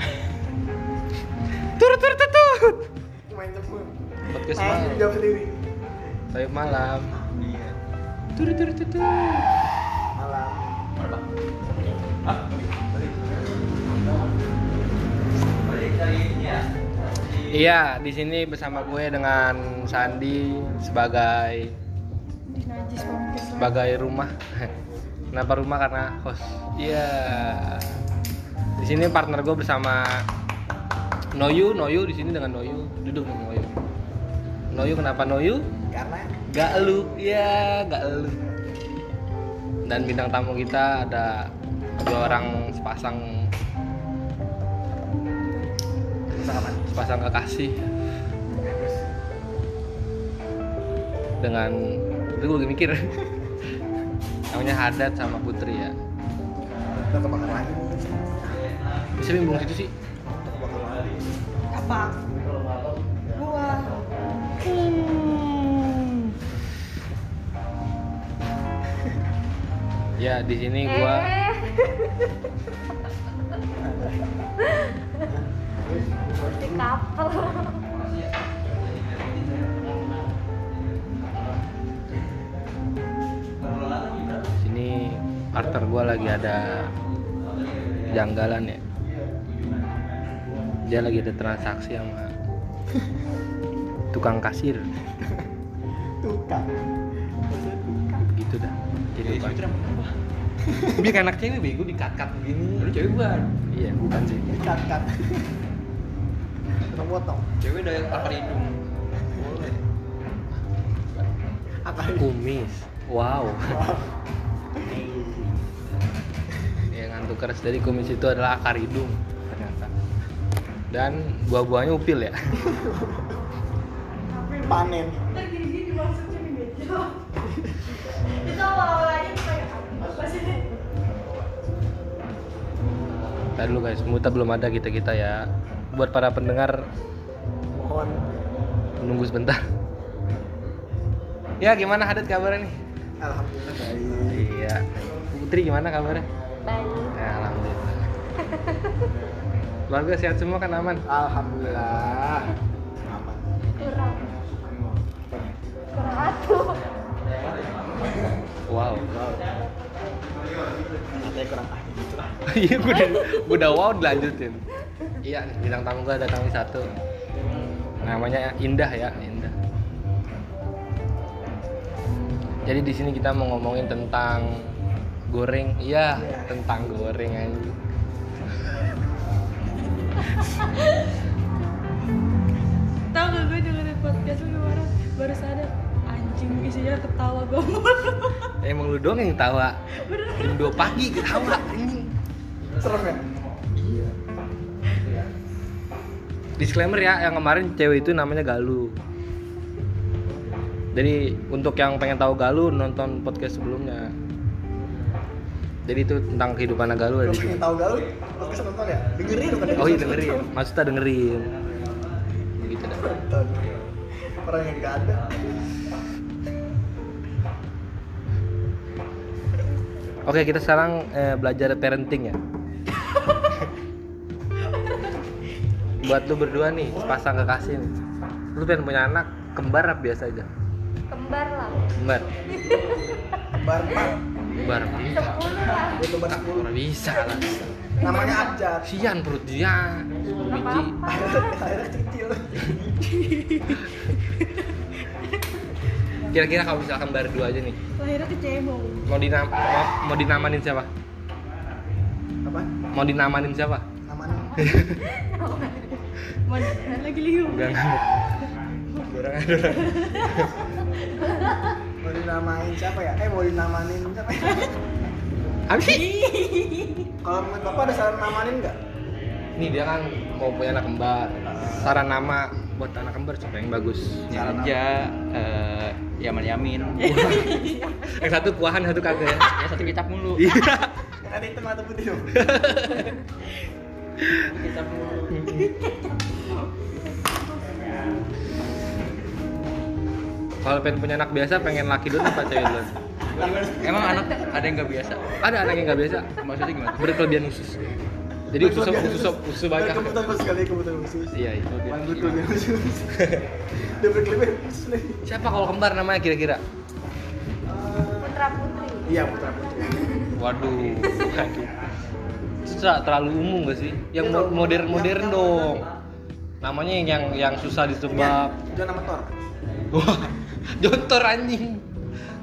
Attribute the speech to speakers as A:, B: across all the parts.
A: Eh.
B: jawab sendiri.
A: Tapi malam.
C: Iya.
A: Tur tur tur tur.
B: Malam.
C: Malam. Hah? Balik. Balik dari ini ya. Dari-
A: Iya, di sini bersama gue dengan Sandi sebagai
D: Di najis banget ya, Bang.
A: sebagai rumah. Kenapa rumah? Karena host. Iya. Di sini partner gue bersama Noyu, Noyu di sini dengan Noyu. Duduk dengan Noyu. Noyu kenapa Noyu?
B: Karena
A: Gak lu, ya gak lu. Dan bintang tamu kita ada dua orang sepasang
B: pasangan.
A: sepasang kekasih dengan itu gue lagi mikir namanya Haddad sama Putri ya
B: Kita kebakar lagi.
A: bisa bimbing situ sih
B: Kita kebakar lagi.
D: Apa? Gua.
A: Hmm. ya di sini gua
D: Eh. Seperti kapal.
A: di sini partner gua lagi ada janggalan ya dia lagi ada transaksi sama tukang kasir
B: Tukang.
A: gitu dah
C: Jadi
A: kehidupan
C: Twitter apa?
A: biar anak cewek bego dikakat
C: Lu
A: begini
C: cewek bukan?
A: iya bukan sih
B: Dikat-kat. Potong-potong.
C: Cewek udah yang akar hidung. Boleh.
B: Akar.
A: Ah, kumis wow
B: Wow.
A: yang ngantuk keras dari kumis itu adalah akar hidung ternyata dan buah-buahnya upil ya
B: Panen.
D: Ntar gini-gini maksudnya di meja. Itu awal-awal aja kayak apa sih?
A: Tadi dulu guys, muta belum ada kita kita ya. Buat para pendengar
B: Mohon.
A: menunggu sebentar. Ya gimana Hadat kabarnya nih?
B: Alhamdulillah baik.
A: Iya. Putri gimana kabarnya?
D: Baik.
A: Ya, alhamdulillah. Keluarga sehat semua kan aman?
B: Alhamdulillah. Aman.
D: Kurang. Kurang atuh.
A: Wow.
B: Wow. Katanya kurang ahli gitu lah.
A: Iya gue udah, gue udah wow dilanjutin. Iya nih bintang tamu gue ada kami satu. Namanya Indah ya Indah. Jadi di sini kita mau ngomongin tentang goreng, iya
B: Iya.
A: tentang goreng anjing.
D: Tau gak gue dengerin podcast lu kemarin baru sadar anjing isinya ketawa gue mulu.
A: Emang lu doang yang ketawa. Jam 2 pagi ketawa anjing.
B: Serem ya?
A: Disclaimer ya, yang kemarin cewek itu namanya Galuh. Jadi untuk yang pengen tahu Galuh nonton podcast sebelumnya. Jadi itu tentang kehidupan Galuh ada
B: Belum
A: di sini.
B: pengen tahu galau, podcast nonton ya? Dengerin bukan
A: Oh iya dengerin, maksudnya dengerin. Gitu dah.
B: Nonton. Orang yang gak ada.
A: Oke, kita sekarang eh, belajar parenting ya. Buat lu berdua nih, sepasang kekasih nih. Lu pengen punya anak kembar apa biasa aja?
D: kembar lah
A: Kembar.
B: Barman.
A: Kembar.
D: sepuluh lah
B: Itu anak dulu.
A: Orang bisa lah.
B: Namanya Abjad.
A: Sian perut dia. Sepuluh biji.
B: Akhirnya akhirnya kecil.
A: Kira-kira kalau misalkan kembar dua aja nih,
D: lahirnya ke cebong
A: mau dinam mau, mau dinamanin siapa?
B: Apa?
A: Mau dinamanin siapa?
B: Namanya?
D: mana lagi liu
A: Enggak enggak. Dorang dorang.
B: Mau dinamain siapa ya? Eh mau dinamain siapa ya?
A: Abis.
B: Kalau menurut bapak ada saran namanin nggak?
A: Ini dia kan mau punya anak kembar. Saran nama buat anak kembar supaya yang bagus.
C: Ini
A: ya.
C: aja eh, Yaman Yamin.
A: Yang satu kuahan, satu kagak ya.
C: Ya satu kecap mulu.
A: Iya.
B: Yang ada hitam atau putih dong?
C: Satu kecap mulu.
A: Kalau pengen punya anak biasa, pengen laki dulu apa cewek dulu?
C: Emang anak ada yang gak biasa?
A: Ada anak yang nggak biasa,
C: Maksudnya gimana?
A: berkelebian usus. Jadi usus usus usus banyak.
B: Kebutuhan khusus kali, kebutuhan khusus.
A: Iya, itu dia.
B: Kebutuhan khusus. Dia berkelibet, terus lagi.
A: Siapa kalau kembar namanya kira-kira?
E: Putra putri.
B: Iya putra putri.
A: Waduh, itu Itu ter- terlalu umum gak sih? Yang mo- modern-modern dong. Namanya yang yang, yang susah ditebak.
B: Dia nama Thor.
A: Wah, jontor anjing.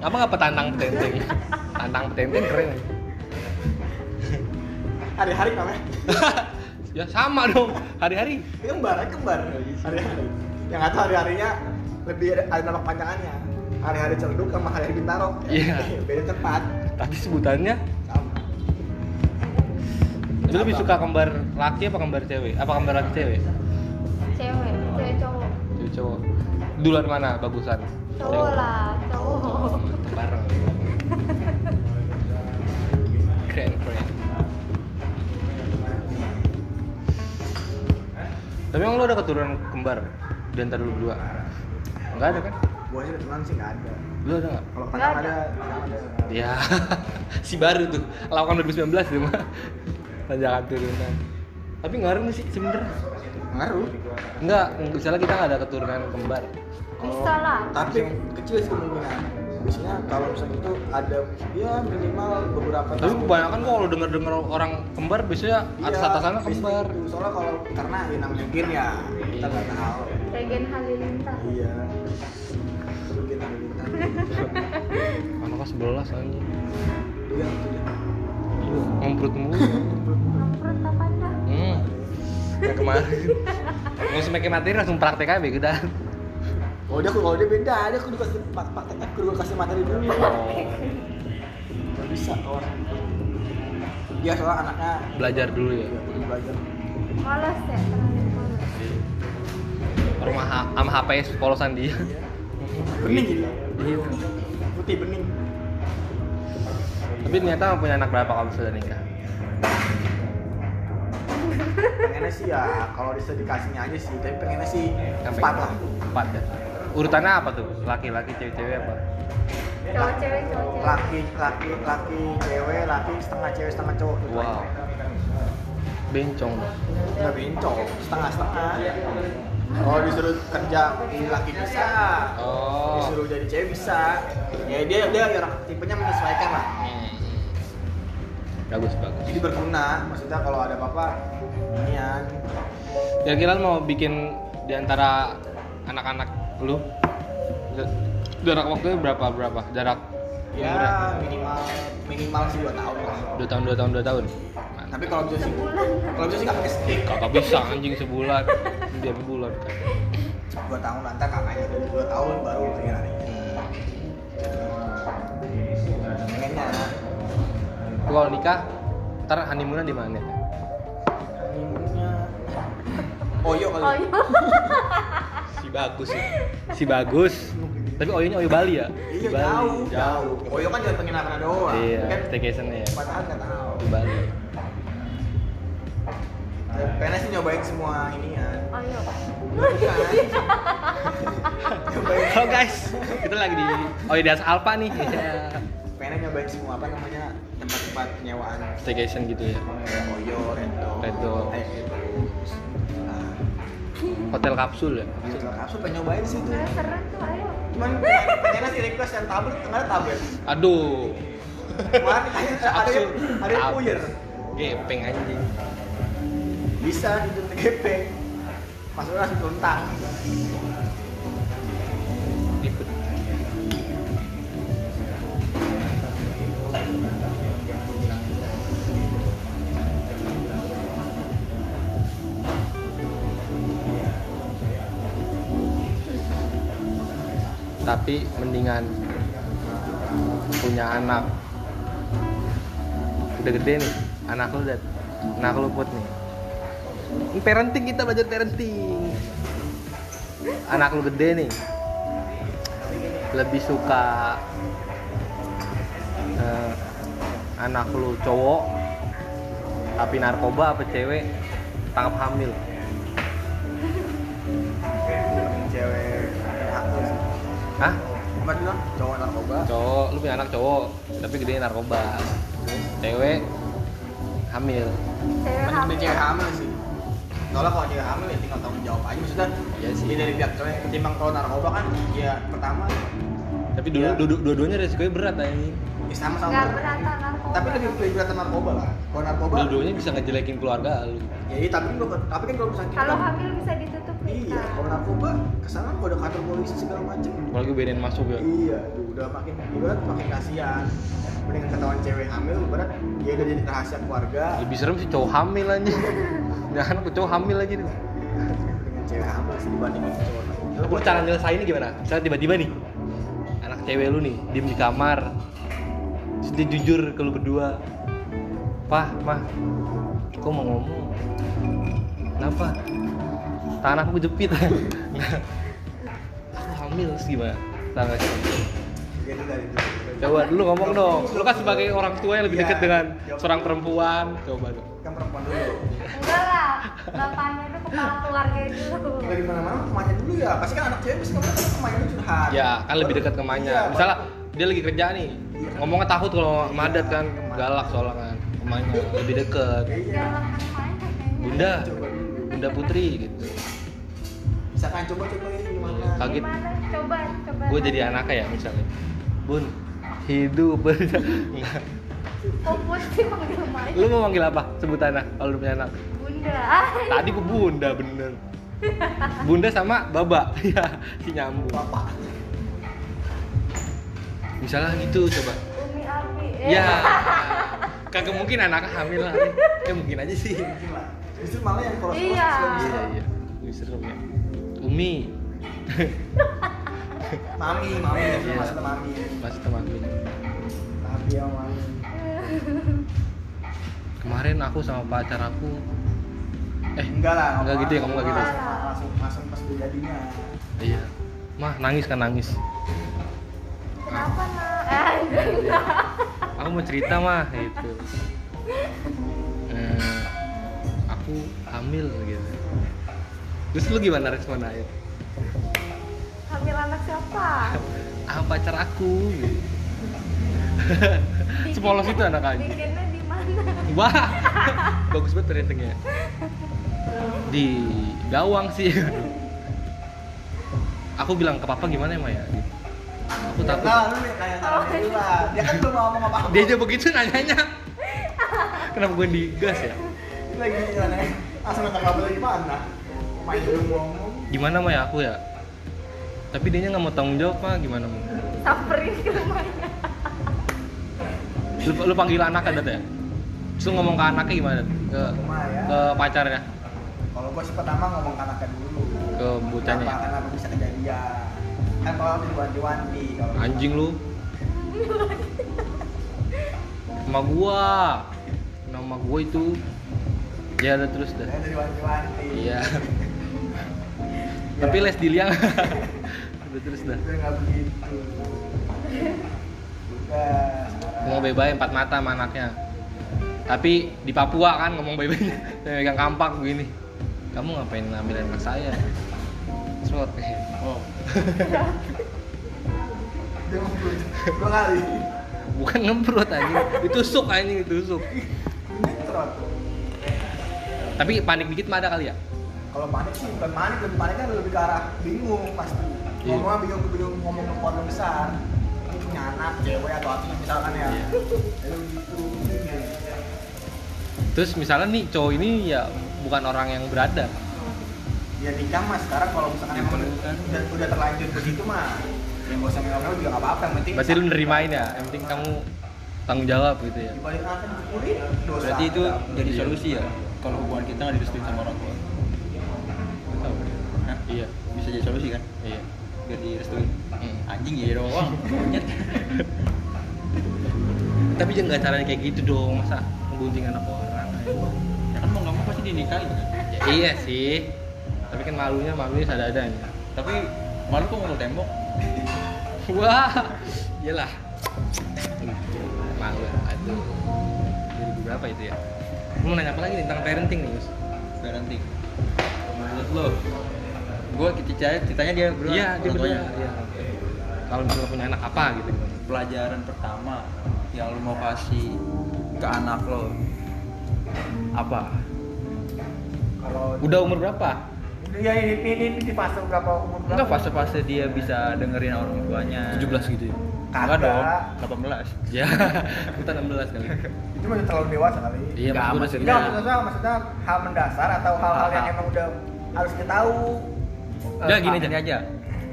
A: Apa nggak petantang petenteng? Tantang petenteng keren.
B: Hari-hari namanya.
A: ya sama dong, hari-hari.
B: Dia kembar, dia kembar. Hari-hari. Yang nggak tahu hari-harinya lebih ada, ada nama panjangannya. Hari-hari cerduk sama hari-hari bintaro.
A: Iya.
B: Beda tempat.
A: Tapi sebutannya,
B: Sama.
A: lu lebih suka kembar laki apa kembar cewek? Apa kembar laki cewek?
E: Cewek, cewek cowok.
A: Cewek cowok. Duluan mana bagusan?
E: Cowok lah, cowok.
A: Bareng. Keren keren. Tapi emang lu ada keturunan kembar di antara lu berdua? Enggak ada kan?
B: Gua sih kebetulan sih nggak ada.
A: Lu ada nggak?
B: Kalau
E: Nggak
B: panjang
E: ada.
B: ada, panjang ada.
A: Ya, si baru tuh. Lawan 2019 itu mah. Tanjakan turunan. Tapi ngaruh nggak sih sebenernya?
B: Ngaruh.
A: Enggak, misalnya kita nggak ada keturunan kembar.
E: Bisa lah.
B: Tapi kecil sih kemungkinan. Biasanya kalau misalnya itu ada ya minimal beberapa
A: Tapi
B: tahun.
A: kebanyakan kok kalau denger-denger orang kembar biasanya atas-atasannya
B: Iya,
A: kembar. Iya.
B: itu. Soalnya kalau karena ya namanya gen ya, kita nggak tahu.
E: Regen Halilintar.
B: Iya. Itu gen halilintar.
A: Anaknya sebelas aja.
B: Iya, itu dia.
A: Iya. Ngemprut mulu.
E: Ngemprut apa enggak?
A: hmm. Kayak kemarin. Mau semakin materi langsung praktek aja beda.
B: Oh dia kalau dia beda, dia kudu kasih pak praktek kan kudu kasih materi dulu.
A: Oh.
B: Gak bisa ke orang. Dia soalnya anaknya
A: Belajar dulu ya.
B: dia perlu belajar.
E: Polos ya, terlalu polos.
A: Rumah ha- sama HP polosan dia.
B: Bening gitu.
A: Iya.
B: Putih bening.
A: Tapi ternyata punya anak berapa kalau sudah nikah?
B: Pengennya sih ya kalau bisa dikasihnya aja sih, tapi pengennya sih
A: Sampai-
B: empat lah.
A: Empat ya. Urutannya apa tuh? Laki-laki, cewek-cewek apa?
E: Cowok cewek, cowok cewek.
B: Laki, laki, laki, cewek, laki, setengah cewek, setengah cowok. gitu
A: Wow.
B: aja.
A: Bencong dong.
B: Nggak bencong, setengah-setengah. Kalau disuruh kerja di laki bisa,
A: Oh.
B: disuruh jadi cewek bisa. Ya dia dia orang tipenya menyesuaikan lah.
A: Bagus bagus.
B: Jadi berguna, maksudnya kalau ada apa-apa, nian.
A: Kira-kira lu mau bikin di antara anak-anak lu jar- jarak waktunya berapa berapa jarak
B: Ya
A: umurnya?
B: minimal minimal sih 2 tahun lah.
A: Dua tahun dua tahun dua tahun.
B: Tapi kalau bisa sih,
E: Sebulan.
B: kalau bisa sih kakak SD
A: Kakak bisa anjing sebulan, dia bulan kan.
B: 2 tahun nanti kakaknya dari 2 gitu. tahun baru kira Hmm. Pengennya
A: Lu Kalau nikah, ntar honeymoonnya di mana?
B: minggunya Oyo kali.
E: Oh iya.
A: Si bagus sih. Si bagus. Tapi oyonya oyo Bali ya? Di
B: Iya
A: Bali.
B: jauh, jauh. Oyo kan jangan penginapan doang.
A: Iya,
B: Kan
A: staycation ya.
B: empat tahun nggak tahu.
A: Di Bali.
B: Ya, Pengennya sih nyobain semua ini ya.
E: Oh iya.
B: nyobain,
A: Halo guys, kita lagi di Oyo Das Alpa nih.
B: Iya. pengennya nyobain semua apa namanya tempat-tempat penyewaan.
A: Staycation gitu ya.
B: Kayak Oyo, Redo,
A: Red Dog.
B: Teh gitu. Nah,
A: Hotel kapsul ya.
B: gitu. Aku pengen nyobain sih itu.
E: Ayo, seru tuh, ayo.
B: Cuman pengen- pengennya sih request yang tablet, kemarin tablet.
A: Aduh.
B: Kemarin ada ada yang ada yang
A: Kapsul.
B: puyer.
A: Gepeng anjing.
B: Bisa gitu TGP. Masuknya langsung tuntang.
A: Ribet. Tapi mendingan punya anak. Udah gede nih, anak lu udah anak lu put nih. Ini Parenting kita belajar parenting. Anak lu gede nih, lebih suka eh, anak lu cowok tapi narkoba apa cewek tangkap hamil
B: Cewek aku sih.
A: hah
B: Apa dulu? Cowok narkoba.
A: cowok lu punya anak cowok tapi gede narkoba cewek hamil
E: Cewek
B: Mending
E: hamil.
B: cewek hamil sih. soalnya kalau dia hamil ya tinggal tanggung jawab aja maksudnya
C: Iya sih.
B: ya dari pihak cewek ketimbang kalau narkoba kan ya pertama
A: Tapi dulu
B: Iya.
A: dua- dua-duanya resikonya berat anjing.
B: ya sama sama
E: nggak beratan narkoba
B: tapi lebih lebih beratan narkoba lah kalau narkoba
A: Dua-duanya bisa ngejelekin keluarga lu.
B: ya iya, tapi kan tapi kan kalau misalnya
E: kalau hamil bisa ditutupin
B: iya kalau narkoba kesana udah kantor polisi segala macem
A: Apalagi bedain masuk ya.
B: Iya, aduh, udah makin ibarat makin kasihan. Mendingan ketahuan cewek hamil, ibarat dia udah jadi rahasia keluarga.
A: Lebih serem sih cowok hamil anjing. Jangan aku cowok hamil aja gitu. nih.
B: Dengan cewek hamil sih dibandingin cowok.
A: Lu cara nyelesainnya gimana? Misalnya tiba-tiba nih anak cewek lu nih diem di kamar. Terus dia jujur ke lu berdua. Pah, mah. Kok mau ngomong? Kenapa? Tangan aku jepit. aku hamil terus gimana? Tangga
B: Gitu dari dulu.
A: Coba lu ngomong dong. Lu kan sebagai orang tua yang lebih
B: Iya.
A: dekat dengan seorang perempuan. Coba dong.
B: Kan perempuan dulu.
E: enggak lah bapaknya itu kepala keluarga dulu
B: Kalau di mana-mana kemanya dulu ya. Pasti kan anak cewek pasti kemana kan kemanya dulu curhat.
A: Ya, kan lebih dekat ke
B: Iya,
A: Manya. Misalnya dia lagi kerja nih,
B: Iya.
A: ngomongnya takut kalau madat kan,
B: Kemanya.
A: galak soalnya kan. Ke Manya lebih dekat.
B: Iya.
E: jalan aja kayaknya
A: Bunda,
B: Coba dulu.
A: Bunda Putri gitu.
B: Misalkan coba coba ini gimana?
A: Kaget.
E: Gimana? coba coba
A: Gue jadi anaknya ya misalnya. Bun, hidup.
E: kok putih Oh, manggil Maya?
A: lu mau manggil apa sebutannya kalau lu punya anak?
E: bunda
A: Tadi gue Bunda bener. Bunda sama Baba, ya si nyambung.
B: Bapak.
A: Misalnya gitu coba.
E: umi abi eh.
A: Ya, kagak mungkin anaknya hamil lah. Ya mungkin aja sih.
B: Mungkin lah. Justru malah yang kalau
E: Iya.
A: Iya, iya. Lebih serem ya. Umi,
B: Mami, mami,
A: Iya.
B: maksudnya mami.
A: masih teman gue.
B: Tapi yang mami.
A: Kemarin aku sama pacar aku, eh,
B: Enggak lah.
A: Enggak gitu ya, kamu enggak gitu.
B: Langsung langsung pas udah jadinya.
A: iya, mah nangis kan nangis.
E: kenapa nak eh enggak
A: Aku mau cerita mah gitu. Eh, aku hamil gitu. Terus lu gimana respon air?
E: hamil anak siapa
A: Ah pacar aku. Gitu. Sepolos itu anak aja.
E: bikinnya di mana
A: Wah, bagus banget ratingnya. Di Gawang sih. Aku bilang ke papa gimana ya Maya? Gitu. Aku takut.
B: Nah, lu nih kayak saran dulu lah. Dia kan belum ngomong apa-apa.
A: Dia aja begitu nanyanya. Kenapa gue digas ya?
B: lagi kan, eh. gimana? Langsung minta kabar gimana? nah. Main dulu ngomong.
A: Gimana Maya aku ya? Tapi dia nggak mau tanggung jawab mah gimana? Ma?
E: samperin ke rumahnya
A: Lu, lu panggil anak ada ya? Terus lu ngomong ke anaknya gimana? Ke
B: Cuma
A: ke
B: ya,
A: pacarnya,
B: kalau gua sih pertama ngomong ke anaknya dulu.
A: ke bocahnya.
B: Kenapa,
A: ya?
B: kenapa bisa kejadian? Kan kalau di wanti-wanti kalau
A: Anjing lu. Nama gua. Nama gua itu. Ya udah terus dah.
B: Ya, dari wanti-wanti.
A: Iya. Tapi les di liang. udah terus dah.
B: Udah nggak begitu. Udah.
A: Gua Mau bebay empat mata sama anaknya. Tapi di Papua kan ngomong bebay megang kampak begini. Kamu ngapain ngambil anak saya? Terus oh.
B: Dia mau begitu. Dua kali.
A: Bukan ngemprut anjing, ditusuk anjing ditusuk.
B: Ini terus.
A: Tapi panik dikit mah ada kali ya?
B: Kalau panik sih bukan panik, lebih panik kan lebih ke arah bingung pasti.
A: Iya.
B: Ngomong bingung bingung ngomong ke keluarga besar. Ini punya anak, cewek atau apa misalkan ya.
A: Iya.
B: Lalu gitu.
A: Terus misalnya nih cowok ini ya bukan orang yang berada.
B: Ya nikah mah sekarang kalau
A: Iya,
B: misalkan emang
A: Diperlukan.
B: udah, udah terlanjur begitu mah yang gak usah ngomong juga gak apa-apa yang penting
A: Berarti lu nerimain ya, yang penting kamu tanggung jawab gitu ya.
B: dibalik akan disyukuri dosa
C: Berarti itu jadi
A: Iya.
C: solusi ya kalau hubungan kita nggak direstuin sama orang tua. Hah?
A: Iya,
C: Bisa jadi solusi kan?
A: iya.
C: Biar direstuin.
A: Hmm.
C: Anjing ya doang. Monyet.
A: Tapi jangan nggak caranya kayak gitu dong, masa ngegunting anak orang. ayo.
C: ya kan mau nggak mau pasti dinikahin. kan?
A: Ya, iya sih. Tapi kan malunya malunya sadadanya.
C: Tapi malu kok mukul tembok.
A: Wah, iyalah. Malu. Aduh. 2000 berapa itu ya? Lu mau nanya apa lagi nih tentang parenting nih, Gus?
C: Garanti. Menurut lo? Gue ceritanya, ceritanya dia berdua.
A: Iya, dia
C: orang
A: berdua.
C: tuanya.
A: Iya. Kalau misalnya punya anak apa gitu.
C: Pelajaran pertama yang lo mau kasih ke anak lo apa?
B: kalau
C: Udah umur berapa?
B: Iya ini, ini, ini di fase berapa umur berapa?
C: Enggak fase-fase dia bisa dengerin orang tuanya.
A: 17 gitu ya
C: Enggak dong,
B: Kagak.
C: 18.
A: ya kita 16 kali
B: Itu masih terlalu dewasa kali.
A: iya
C: Nggak,
A: maksud gua
C: maksudnya-
B: Enggak, maksudnya maksudnya hal mendasar atau hal-hal yang
C: Hal-hal.
B: emang udah harus kita tahu.
A: Udah,
C: Eh,
A: gini
C: Pak,
A: aja.
C: ini aja.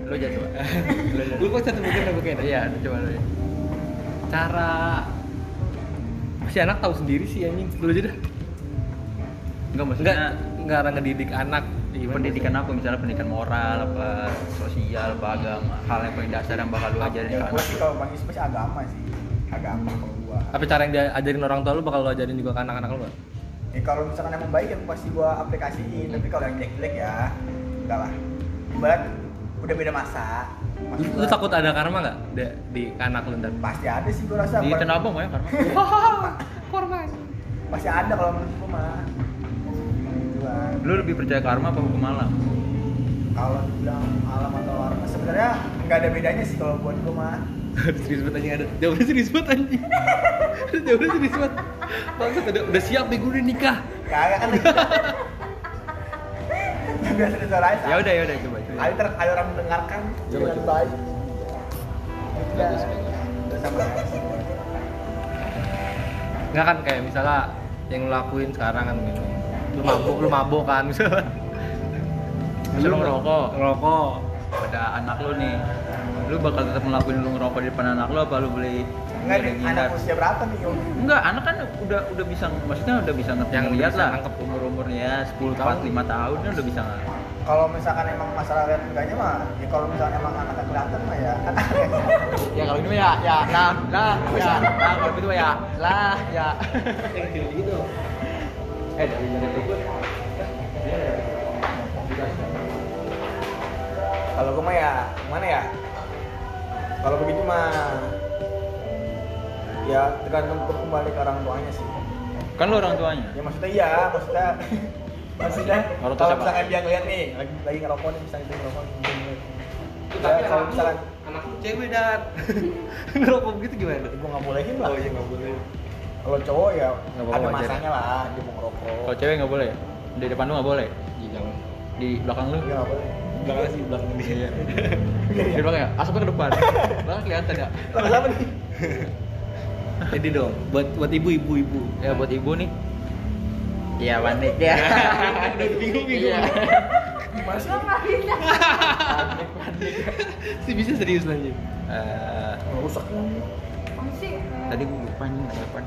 C: Lu aja coba. Lu aja.
A: lu kok satu mikir apa kayak
C: Iya, lu coba lu. aja.
A: cara si anak tahu sendiri sih anjing lu aja dah
C: Enggak maksudnya
A: enggak enggak orang ngedidik anak gimana
C: pendidikan
A: sih?
C: apa misalnya pendidikan moral apa sosial apa agama hal yang paling dasar yang bakal lu ajarin ke
B: Ya, gue
C: anak
B: sih kalau Bang Isma sih agama sih. Agama kalau gua.
A: apa cara yang diajarin orang tua lu bakal lu ajarin juga ke anak-anak lu nggak?
B: Ya kalau misalkan emang baik yang pasti gua aplikasiin, tapi kalau yang jelek-jelek ya enggak lah. Ibarat udah beda masa.
A: lu,
B: Maksud
A: lu
B: gua,
A: takut ada karma nggak di, di ke anak lu ntar
B: Pasti ada sih gua rasa.
C: di
B: Bukan-
C: tanah abang ya karma
B: Pasti ada kalau menurut gua mah. Gitu kan. Gituan.
C: lu lebih percaya karma apa hukum alam
B: Kalau dibilang alam atau warna sebenarnya nggak ada bedanya sih kalau buat gua mah.
A: serius banget anjing ada jawabnya serius banget anjing jawabnya serius banget bangsat udah, udah siap nih gue udah nikah
B: Kagak kan biasa disalahin
C: ya udah ya udah coba coba
B: ada, ter- ada orang mendengarkan
A: Coba,
B: dengan
A: coba.
B: baik Ya,
A: Bagus, bagus.
B: udah sama
A: nggak kan kayak misalnya yang lu lakuin sekarang kan gitu
C: Iya.
A: lu mabuk lu mabuk kan misalnya
C: Misalnya ngerokok.
A: ngerokok
C: pada anak lu nih lu bakal tetap ngelakuin lu ngerokok di depan anak lu apa lu beli
B: enggak nih anak
C: ngindar?
B: usia berapa nih Om?
C: Enggak, anak kan udah udah bisa maksudnya udah bisa ngerti
A: Yang
C: ngeliat
A: bisa
C: lah
A: nangkep.
C: umur-umurnya 10
A: Tahun.
C: tahun 5 tahun dia udah bisa ngerti.
B: kalau misalkan emang masalah lihat mukanya mah ya kalau misalkan emang anak kelihatan mah ya
C: Ya kalau ini mah ya ya lah lah ya lah kalau itu mah ya lah ya. gitu. Eh dari dari itu.
B: kalau gue mah ya gimana ya kalau begitu mah ya tergantung ke- kembali ke orang tuanya sih
C: Kan lu orang tuanya.
B: ya maksudnya iya maksudnya maksudnya
C: Orang tua
B: kalau
C: siapa?
B: misalkan dia ngeliat nih lagi lagi ngerokok nih misalnya dia ngerokok nih
A: tapi
B: Ya, kalau misalkan
A: anak lu cewek dan ngerokok gitu gimana
B: gue ya Oh, iya, nggak bolehin lah kalau cowok ya
C: Nggak apa-apa,
B: ada
C: wajar.
B: masanya lah dia mau ngerokok
C: Kalau cewek nggak boleh. Di depan lu nggak boleh. Di belakang lu. Iya.
B: Dia nggak boleh
A: belakang sih belakang dia
C: Di belakang ya. Asapnya ke depan. Belakang kelihatan ya.
B: Lah, kenapa nih
A: jadi dong buat buat ibu ibu ibu
C: Ya buat ibu nih. Iya panik ya.
A: udah bingung bingung
C: Iya.
E: Gue nggak bisa.
A: sih bisa serius lanjut
C: Eh,
B: rusak nih
E: Apa sih?
C: Tadi gue lupa nih nanya apa.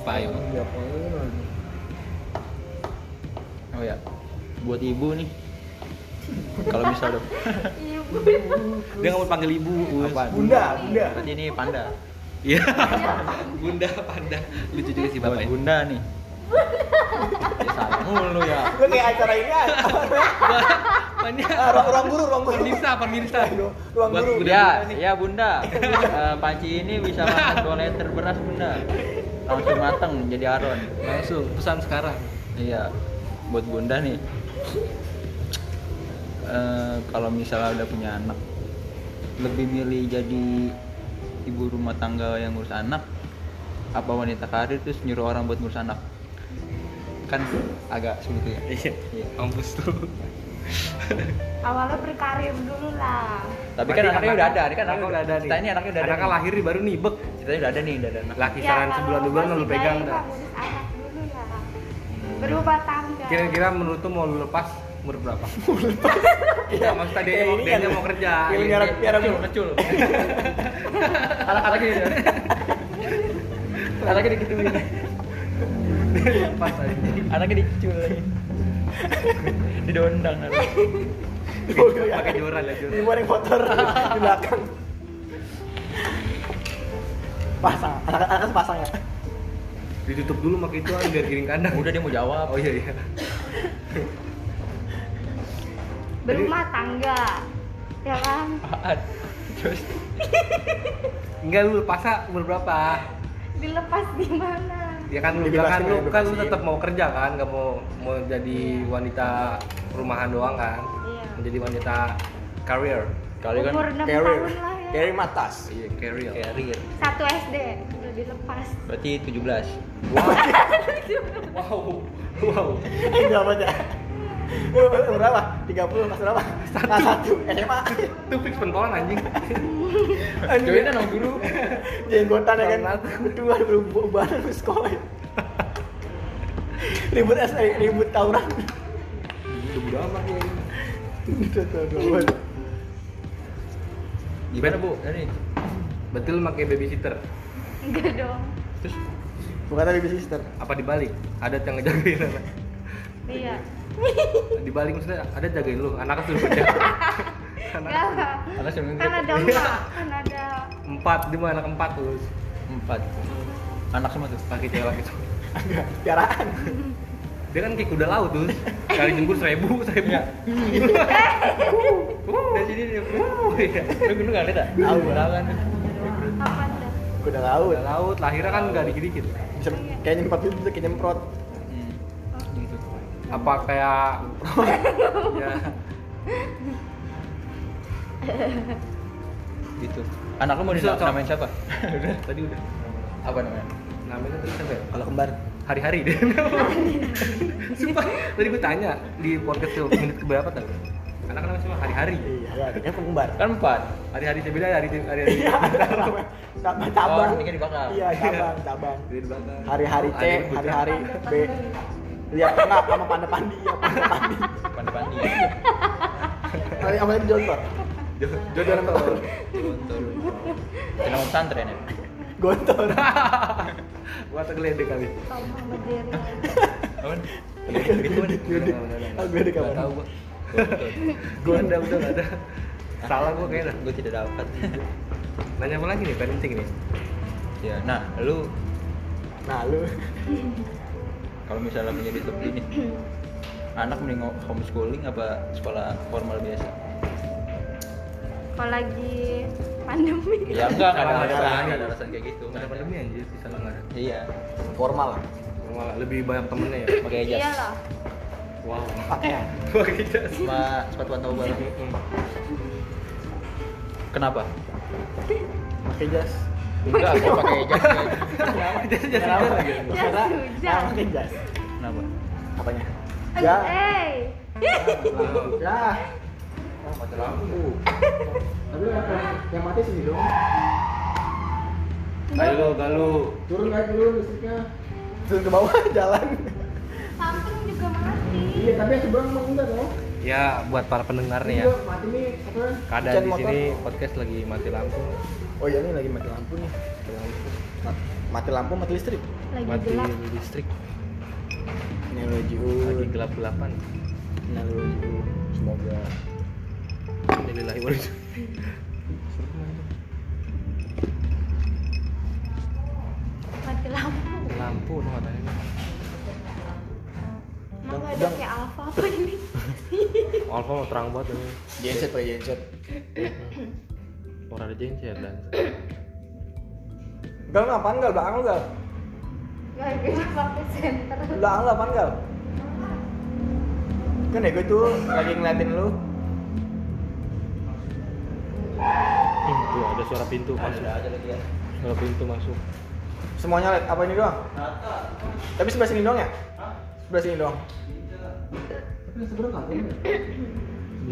A: apa ya, ayo
C: Oh ya. Buat ibu nih. Kalau bisa udah.
E: eh, Ibu.
A: dia nggak mau panggil ibu Us.
C: Apaan?
B: bunda bunda
C: Berarti ini panda.
A: iya bunda panda lucu juga sih bapak
C: Buat
A: ini.
C: bunda nih. Ya, sayang mulu ya.
B: lu kayak acara ini ah
A: banyak
B: Ah, ruang ruang guru ruang guru
A: pemirsa pemirsa
B: Aduh, ruang
A: Buat
B: guru
A: bunda.
C: Ya, ya bunda. Eh, panci ini bisa makan 2 liter beras bunda. Langsung mateng jadi aron.
A: langsung pesan sekarang
C: Iya. Buat bunda nih. Eh, kalau misalnya udah punya anak, lebih milih jadi ibu rumah tangga yang ngurus anak apa wanita karir terus nyuruh orang buat ngurus anak kan agak sulit ya
A: iya kampus tuh
E: Awalnya berkarir dulu lah.
C: tapi kan
A: Berarti
C: anaknya udah ada, ini kan
A: anaknya udah ada nih.
C: Kita ini anaknya udah ada.
A: Anaknya
C: nih.
A: lahir nih, baru nibek.
C: Ceritanya udah ada nih, udah ada anak.
A: Lah kisaran
E: Ya, Iya, kalau
A: sebulan dua bulan
E: masih
A: lu pegang
E: bayi
A: dah.
E: mah ngurus anak dulu lah. Berumah tangga.
A: Kira-kira menurut tuh mau lu lepas umur berapa? Iya, maksud tadi
B: Kayak
A: mau
B: ini
A: dia
B: kan.
A: mau kerja. Iya.
B: Kayak ini arah- biar
C: Kecul,
B: aku-
C: kecul. Anak-anak ini. Anaknya dikituin.
A: Lepas aja.
C: Anaknya dikecul lagi. Didondang nanti.
A: Pakai joran ya,
B: ini
A: joran.
B: mau yang kotor di belakang pasang anak-anak sepasang ya
A: Ditutup dulu pakai itu kan biar giring kandang.
C: Udah dia mau jawab.
A: Oh iya iya.
E: Berumah tangga. Ya kan?
C: Apaan? Terus
A: Enggak lu lepasnya umur berapa?
E: Dilepas di mana?
A: Ya kan lu
B: Dibebasin,
A: bilang kan lu kan lu
B: dibebasin.
A: tetap mau kerja kan, nggak mau mau
C: Iya.
A: jadi wanita rumahan doang kan.
E: Iya.
A: Menjadi wanita career.
C: kali kan
E: Umur 6
B: carrier.
E: tahun lah ya.
B: Carry Matas.
C: Iya, career. Career.
E: Satu SD lebih lepas.
C: Berarti 17.
A: Wow. Wow.
B: Eh, berapa ya? berapa? 30 kelas berapa? Kelas satu SMA.
A: Itu fix pentolan anjing. kan
B: Anjing.
C: Joinnya nong dulu.
B: Jenggotan ya kan. Berdua berubah di sekolah. ribut es eh, ribut tawuran.
C: Udah amat ya.
B: Itu tuh, tuh.
C: Gimana, Bu? Ini.
A: Betul pakai babysitter.
E: Enggak dong.
A: Terus
B: Bukan tadi baby sister.
A: apa dibalik? Ada yang ngejagain anak.
E: Iya.
A: Dibalik maksudnya ada jagain lu, anak suruh jaga. anak
E: Enggak.
C: Karena sebelum
E: Kan ada
A: Iya.
E: emak, kan ada
A: empat, dia mah anak empat lu.
C: empat. Anak semua tuh.
A: Pakai cewek pakai cowok.
B: Jaraan.
A: Dia kan kayak kuda laut tuh. Kali jenggur seribu, seribu.
C: Iya.
A: Wuh, Dari sini dia. wuh, iya.
C: Lu dulu enggak ada dah.
B: Tahu,
C: Tahu kan.
E: apa tuh?
B: Kuda
A: Kuda
B: laut.
A: laut, lahirnya kan nggak dikit-dikit.
B: Bisa kayak nyemprot itu kayak nyemprot.
C: Hmm. Gitu.
A: Apa kayak ya
C: Gitu. Anak lu mau
A: Bisa, Cok.
C: dinamain siapa?
A: udah tadi udah
C: Apa namanya?
A: namanya tadi siapa ya?
B: Kalau kembar.
A: hari-hari deh sumpah tadi gue tanya di podcast tuh menit keberapa tadi karena kan cuma hari-hari
B: Iya, dia kembar.
C: Kan empat.
A: hari-hari saya beda hari hari-hari
B: Iya, sama cabang.
C: Oh, mikir dibakar.
B: Iya, cabang, cabang.
A: Jadi di belakang.
B: Hari-hari C,
A: Hari-hari putra.
B: hari-hari B. Lihat kenapa sama panda pandi ya, panda pandi.
C: Depan-depan
B: Hari sama yang jontor.
A: Jo- jodoh nonton
C: Gontor. Kenapa pesantren ya?
B: Gontor.
A: gua tergeledek kali
E: Kaum berdiri.
C: Apa?
B: Gede. Ah, gede
A: iya. Nggak
B: kapan?
A: tahu gua gua ada udah nggak ada salah gua kayaknya
C: Gue tidak dapat.
A: nanya apa lagi nih parenting nih
C: ya, nah, lu
B: Nah, lu
C: kalau misalnya menjadi top ini anak mending homeschooling apa sekolah formal biasa?
E: Kalau lagi pandemi.
C: Ya enggak,
A: Salah,
C: enggak ada
A: salah.
C: alasan, enggak ada alasan kayak gitu.
A: ada pandemi anjir sih salah nggak ada
C: Iya,
B: formal lah.
A: malah lebih banyak temennya ya
C: pakai jas.
E: Iya lah.
A: wow
B: Pakaian. Iya,
A: pakai jas
C: Sama sepatu atau bal. Kenapa?
B: Pakai jas.
C: Enggak, gua pakai jas. ya.
A: jas jas
B: Kenapa?
A: hujan lagi
B: Karena
E: hujan.
B: ah, pakai jas.
C: Kenapa?
B: Apanya?
E: Eh,
B: Ya.
E: eh.
A: Wow.
B: Ya. Oh, mati lampu. Tapi yang- yang mati sini dong.
A: Ayo galu.
B: Turun aja dulu listriknya. Turun ke bawah jalan.
E: Samsung juga mati.
B: Iya, tapi yang seberang emang enggak dong.
A: Ya buat para pendengar nih ya.
B: Iya, mati nih apa?
A: Keadaan
B: hujan
A: di
B: motor.
A: sini podcast lagi mati lampu.
B: Oh iya ini lagi mati lampu nih. Mati lampu. Ma- Mati lampu, mati listrik.
E: Lagi
A: Mati
E: gelap.
A: listrik
B: Analogi
A: lagi gelap gelapan.
B: Analogi Semoga
A: Innalillahi wa inna ilaihi raji'un.
E: Mati lampu.
A: Lampu no katanya.
E: Emang
B: Dang,
E: nggak ada
B: dang.
E: kayak alfa apa ini?
A: Alfa mau terang banget ini.
B: genset pakai genset.
A: Orang ada genset dan.
B: Gal lu apaan gal belakang lu gal?
E: Gak ada pakai senter.
B: Belakang lu apaan gal? Kan ya gue tuh lagi ngeliatin lu.
A: Hmm, tuh ada suara pintu masuk.
C: Ada aja lagi ya.
A: Suara pintu masuk.
B: Semuanya liat apa ini doang? Tapi sebelah sini doang ya? Sebelah sini doang.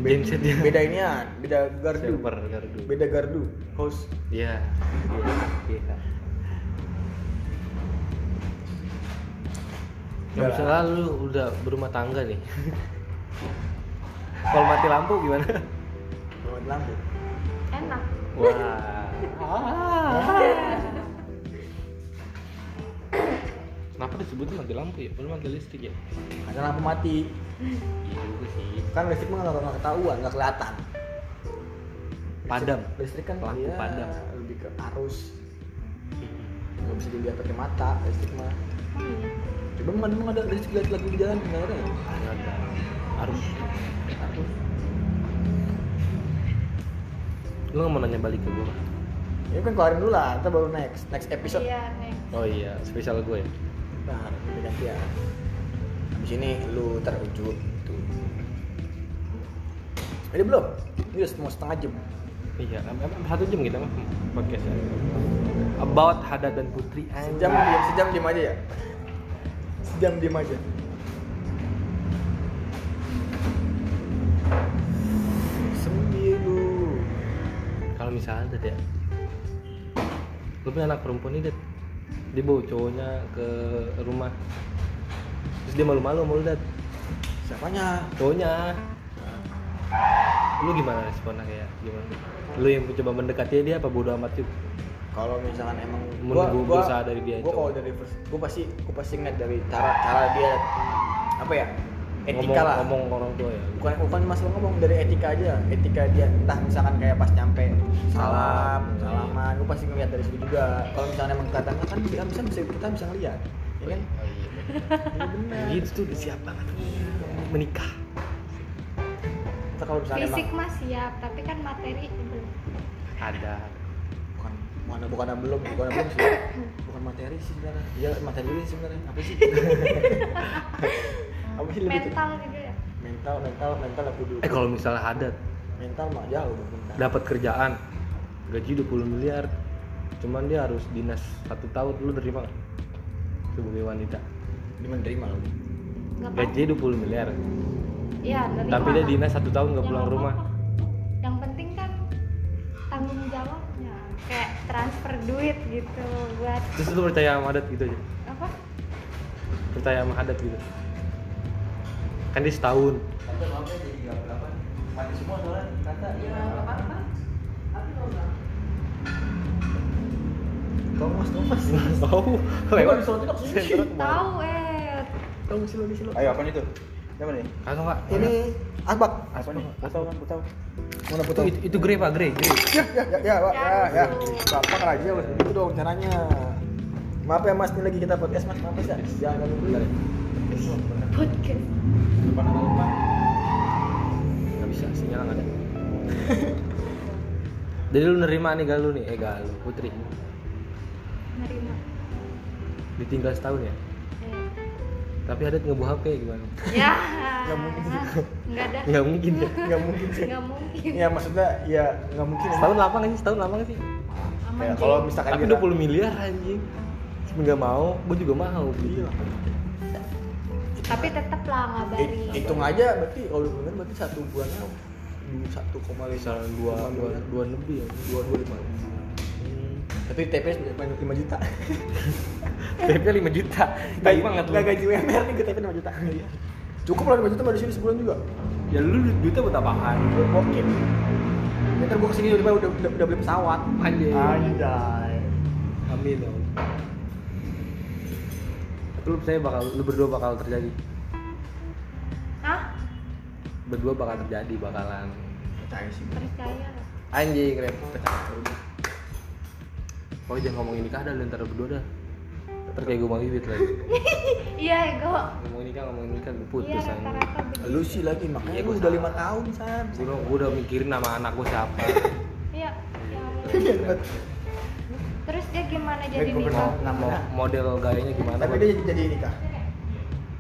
A: Genset dia.
B: Beda inian, beda gardu.
A: Super gardu.
B: Beda gardu. Host.
A: Iya. Iya. Ya,
B: Udah
A: misalnya lu udah berumah tangga nih. Kalau mati lampu gimana?
B: Bawa lampu.
E: Enak.
A: Wah. Kenapa disebutnya mati lampu ya? Belum mati listrik ya?
B: Nah, Karena lampu mati.
A: Iya juga sih.
B: Kan listrik mah nggak nggak ketahuan, nggak kelihatan.
A: Padam.
B: Listrik kan
A: Lampu
B: dia
A: padam.
B: lebih ke arus. Nggak bisa dilihat pakai mata listrik mah.
E: Oh iya.
B: Coba emang emang ada listrik lihat lagu di jalan nggak ada ya?
A: Nggak ada. Harus.
B: Arus.
A: Lu nggak mau nanya balik ke gua?
B: Ya kan keluarin dulu lah, ntar baru next next episode.
E: Iya, next.
A: Oh iya, spesial gue ya.
B: Nah, nanti gantian. Habis ini lu terujud gitu. Ini belum? Ini udah mau setengah jam.
A: Iya, em- em- satu jam kita mah podcastnya. About Haddad dan Putri
B: Sejam diam, sejam diam aja ya. Sejam diam aja. Sembilu.
A: Kalau misalnya Dad ya, lu punya anak perempuan nih Dad, dia bawa cowoknya ke rumah, terus dia malu-malu sama lu Dad,
B: Siapanya?
A: cowoknya. Lu gimana responnya kayak gimana? Lu yang coba mendekati dia apa bodo amat sih?
B: Kalau misalkan emang
A: Menunggu berusaha dari dia,
B: gua
A: coba.
B: kalau dari first, gua pasti gua pasti ngeliat dari cara cara dia apa ya? Etika
A: ngomong,
B: lah.
A: ngomong ke orang tua ya.
B: bukan bukan masalah ngomong dari etika aja etika dia entah misalkan kayak pas nyampe salam salaman gue pasti ngeliat dari situ juga kalau misalnya emang kata kan kita bisa bisa kita bisa ngeliat ya kan Iya benar
A: Gitu tuh udah siap banget menikah.
B: Kita kalau misalnya
E: Fisik
B: emang
E: mah siap, tapi kan materi belum.
A: Ada.
B: bukan bukan bukan belum bukan belum sih bukan materi sih sebenarnya iya materi ini sebenarnya apa sih apa sih lebih ke-
E: Mental juga ya.
B: mental mental mental aku dulu
A: Eh kalau misalnya Haddad
B: mental mah jauh dari mental
A: dapat kerjaan gaji 20 miliar cuman dia harus dinas satu tahun lu terima nggak? sebagai wanita
B: dia menerima loh
E: Gak apa-apa.
A: gaji 20 miliar
E: Iya, nerima
A: tapi dia
E: lah.
A: dinas satu tahun
E: Ya,
A: nggak pulang
E: gak
A: rumah
E: apa-apa. Yang penting kan tanggung jawabnya kayak transfer duit gitu buat
A: terus lu percaya sama adat gitu aja
E: apa?
A: percaya sama adat gitu kan dia setahun
B: ya, iya. kau mas kau mas
A: oh
B: lewat
A: lewat
B: bisa tidak sih
E: Tahu eh
B: kau sih lo sih lo
C: Ayo apa itu? Siapa nih?
A: kagak pak
B: ini asbak
C: Apa nih? Putau kan, putau.
B: mana
A: itu
B: putar
A: itu, itu grey pak grey grey
B: ya ya ya ya pak ya ya
E: Jangan.
B: bapak aja harus begitu dong caranya maaf ya mas ini lagi kita podcast mas maaf ya jangan ganggu dulu
A: ya.
E: podcast.
B: depan sama depan
A: nggak bisa sinyal nggak ada jadi lu nerima nih galu nih eh galu putri
E: Nerima.
A: ditinggal setahun ya
E: Eh.
A: tapi adat ngebuah hp gimana
E: Ya.
B: Nggak mungkin.
E: Enggak ada.
A: nggak mungkin ya
B: nggak mungkin sih
E: Enggak mungkin.
B: ya maksudnya ya nggak mungkin
A: setahun lama nggak sih setahun lama nggak sih
E: Aman.
B: ya
E: Ji.
B: kalau misalkan
A: tapi
B: kita-
A: 20 miliar anjing nggak mau gue juga mau gitu
B: Iya.
E: Tapi tetap lah
B: Hit-
E: ngabarin.
B: hitung aja berarti kalau lu bener berarti satu bulannya satu koma
A: misalnya dua dua
B: Iya.
A: dua lebih ya
B: dua dua lima
A: Hmm.
B: tapi TPS berapa lima juta
A: tipnya lima juta baik banget lu
B: nggak gaji UMR nih gue TPS lima juta cukup lah lima juta mah di sini sebulan juga
A: ya lu du- duitnya buat apaan
B: Oke. Ntar gue kesini udah, udah, udah, udah beli pesawat. ya
A: Anjay.
B: Anjay.
A: amin dong tapi lu percaya bakal lu berdua bakal terjadi
E: Hah?
A: berdua bakal terjadi bakalan
B: Percaya sih.
E: Percaya. lah.
A: anjing keren pokoknya jangan ngomongin nikah dah lu ntar berdua dah ntar kayak gue mau bibit lagi
E: Iya, ego.
A: ngomongin nikah ngomongin nikah gue
E: Iya,
A: putus anjing
E: rata-rata begitu.
B: Lu sih lagi makanya
A: Iya,
B: lu
A: gua
B: udah
A: salah.
B: lima tahun san.
A: gue udah mikirin nama anak gue siapa
E: Iya. ya Allah.
B: Iya, bet.
E: Terus dia gimana jadi
B: Eh, gua
E: nikah?
B: kenal. Nama.
A: Mo- model gayanya gimana
B: Tapi
A: gua-
B: dia jadi nikah.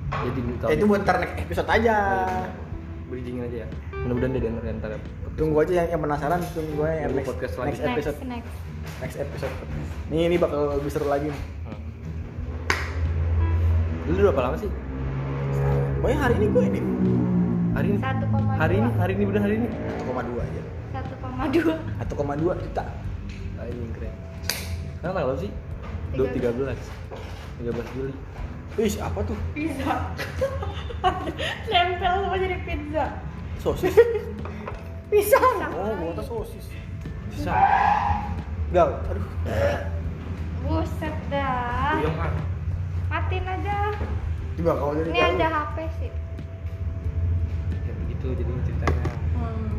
A: jadi minta
B: Ya, itu buat ntar next episode aja.
A: bridgingin aja ya mudah-mudahan dia denger ntar ya
B: Tunggu aja yang, yang penasaran, tunggu gue yang
A: Tunggu
B: next,
A: podcast
B: next
A: selanjutnya.
B: episode.
E: Next, next.
B: Next episode. Nih ini bakal lebih seru lagi nih.
A: Hmm. lu udah berapa lama sih
B: Pokoknya hari ini gue edit.
A: hari ini
E: 1,2.
A: hari ini hari ini bener hari ini
B: 1,2 aja.
E: 1,2.
B: 1,2 juta.
A: anjing keren sekarang tanggal berapa sih dua tiga belas tiga belas Juli
B: Wih, apa tuh?
E: Pizza. Nempel sama jadi pizza.
B: Sosis.
E: Pizza.
B: Oh, gua kata sosis.
A: bisa
B: Gal, aduh.
E: Buset dah.
B: Iya.
A: Puyeng, ah.
E: Matiin aja.
B: Coba kalau jadi
E: Ini ada HP sih.
A: ya begitu jadi ceritanya
E: Hmm.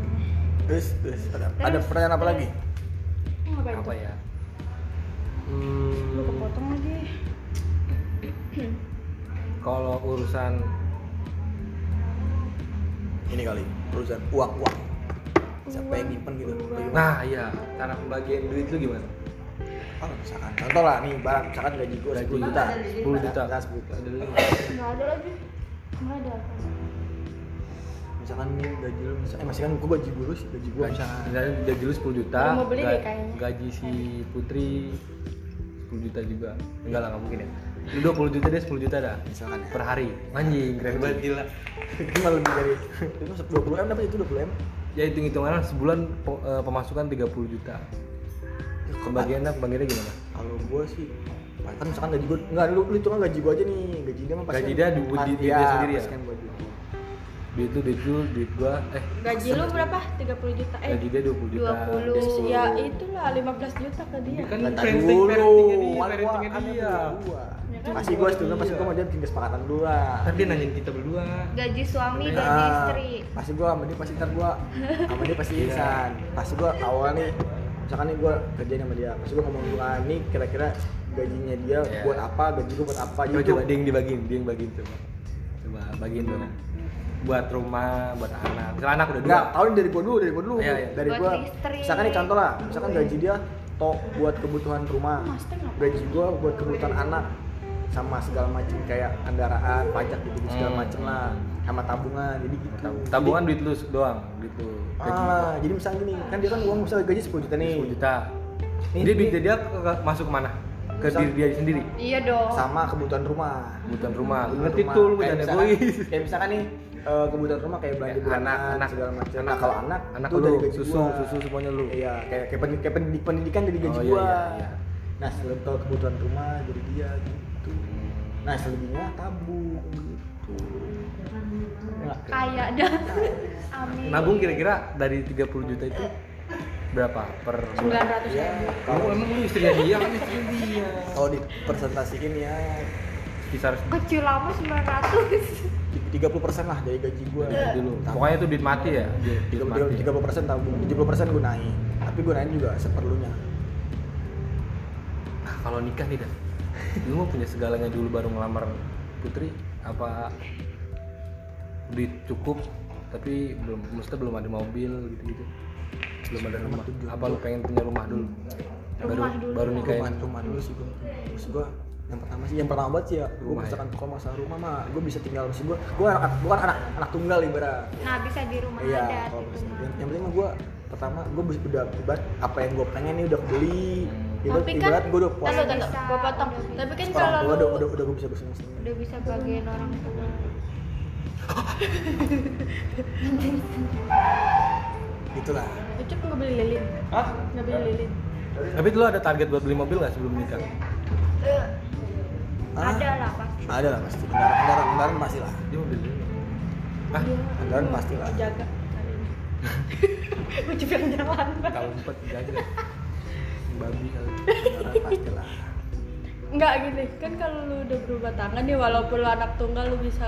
B: Terus, terus ada, ada pertanyaan apa lagi?
E: Ngapain
A: apa
E: tuh?
A: ya Hmm,
E: Lu kepotong lagi.
A: kalau urusan
B: Ini kali urusan uang uang. Siapa yang nyimpen gitu? Nah,
A: nah iya cara pembagian duit lu gimana
B: oh, misalkan contoh lah nih barang misalkan gaji gue
A: Gaji.
B: 10 juta.
A: 10 juta.
B: Misalkan 10 juta.
A: Ada lu.
E: Enggak ada lagi. Enggak ada. apa-apa.
B: misalkan nih gaji lu misalkan eh masih kan gue gaji gue sih gaji gue misalkan
A: misalnya gaji lu 10 juta
E: Baru mau beli
A: ga-
E: deh kayaknya.
A: gaji si putri 10 juta juga enggak lah nggak mungkin ya lu
E: Iya.
A: 20 juta dia 10 juta dah
B: misalkan ya
A: per hari anjing keren banget gila
B: itu malah lebih dari itu masuk 20 m dapat itu 20 m
A: ya hitung hitungan sebulan pe- eh, pemasukan 30 juta pembagiannya pembagiannya gimana
B: kalau gue sih kan misalkan gaji gue enggak lu lu hitungan gaji gue aja nih gaji dia mah pasti
A: Gaji dia di- di- di- dia sendiri ya?
B: kan gue
A: duit lu duit lu duit gua eh
D: Gaji lu berapa? 30 juta. Eh,
A: gaji dia 20 juta
E: 20
D: ya itulah 15 juta ke dia.
A: Kan
B: Nggak
A: parenting-
B: dulu,
A: parentingnya dia,
B: kan gua-
A: parentingnya
B: kan
A: dia. Iya
B: yang punya gua.
D: Ya kan?
B: Masih gue setuju, masih gue mau dia bikin kesepakatan dulu lah.
A: Ntar dia nanyain kita berdua
E: gaji suami
A: Nah.
E: gaji istri
B: pasti gue sama dia pasti ntar gue sama dia
A: Iya.
B: pasti insan. Pasti gue awal nih, misalkan nih gue kerjain sama dia, pasti gue ngomong dulu ah ini kira-kira gajinya dia
A: Iya.
B: buat apa, gaji gue buat apa
A: coba
B: gitu.
A: coba dia yang dibagiin dia yang bagiin coba coba bagiin dulu buat rumah buat anak misalnya anak udah dua
B: Enggak, tahun dari gue dulu, dari gue dulu,
A: Iya, iya.
B: dari
E: Buat
B: gue.
E: listrik.
B: Misalkan nih contoh lah, misalkan gaji dia tok buat kebutuhan rumah,
D: Master ngapain?
B: Nah. gaji gue buat kebutuhan anak sama segala macam kayak kendaraan, pajak gitu segala
A: Hmm.
B: macem lah, sama tabungan, jadi gitu.
A: Tab-
B: Jadi-
A: tabungan duit lu doang duit lu gaji
B: Ah, jadi misalnya gini, kan dia kan uang misalnya gaji 10 juta nih.
A: 10 juta
B: Ini-
A: dia
B: ini-
A: duit dia ke- ke- masuk kemana ke
B: Misal-
A: diri dia sendiri
E: iya dong
B: Sama kebutuhan rumah.
A: kebutuhan rumah lu
B: Kebutuhan
A: ngerti
B: rumah.
A: tuh lu
B: Kayak
A: jangan
B: misalkan-
A: egois
B: Kayak misalkan nih eh, kebutuhan rumah kayak belanja
A: Ya,
B: bulanan,
A: anak- anak-
B: segala macam.
A: anak-
B: Nah, kalau anak,
A: anak
B: itu
A: lu,
B: dari gaji
A: susu-
B: gua.
A: susu semuanya lu.
B: Iya, kayak kayak, pendidik, kayak pendidik- pendidikan dari gaji
A: Oh, iya,
B: gua.
A: iya, iya.
B: Nah, selain kalau kebutuhan rumah jadi dia gitu. Nah, selebihnya tabung gitu. Nggak.
E: kaya dah amin
D: Nah,
A: nabung kira-kira dari 30 juta itu berapa per bulan
D: 900
B: Ya,
D: ribu.
A: kamu
B: kalau
A: emang lu istrinya dia kan istri dia
B: kalau dipresentasiin ya
A: kisar
E: kecil lama 900
B: 30% lah dari gaji gua
A: dulu pokoknya itu duit mati ya duit, duit mati
B: tiga puluh persen tabung tujuh puluh persen gunain tapi gunain juga seperlunya
A: Nah, kalau nikah nih dan lu mau punya segalanya dulu baru ngelamar putri apa duit cukup tapi belum maksudnya belum ada mobil gitu gitu belum ada rumah apa lu pengen punya rumah dulu baru
E: Rumah dulu.
A: baru nikahin
B: rumah rumah dulu sih gua terus gua yang pertama sih yang pertama banget sih ya gua
A: Rumah ya?
B: misalkan kalau masalah rumah mah gua bisa tinggal sih gua gua anak gua kan anak anak tunggal ibarat
E: nah bisa di rumah
B: iya
E: adat
B: kalau
E: gitu
B: misalkan
E: mah
B: yang, yang penting mah gua pertama gua bisa udah ibarat apa yang gua pengen nih udah beli ibarat,
D: Tapi kan
B: ibarat gua udah puas
D: Tunggu, tunggu,
E: Bisa,
D: gua potong.
E: udah bisa.
D: Tapi kan
B: orang
D: kalau
B: tua
D: lu
B: udah udah udah gua bisa bersenang senang
E: udah bisa bagian orang tua
B: itulah
D: Ucup nggak beli lilin.
A: Hah?
D: Nggak beli lilin.
A: tapi lu ada target buat beli mobil nggak sebelum nikah
E: Eh,
B: Ah,
E: ada lah pasti
B: ada lah pasti kendaraan kendaraan kendaraan pasti lah
A: dia mau beli dulu. Hah?
D: Iya.
B: Kendaraan pasti lah.
D: Jaga hari ini. Ucup yang jalan.
A: tahun empat jaga babi kali
B: kendaraan pasti lah
D: Enggak gini, kan kalau lu udah berubah tangan nih walaupun lu anak tunggal lu bisa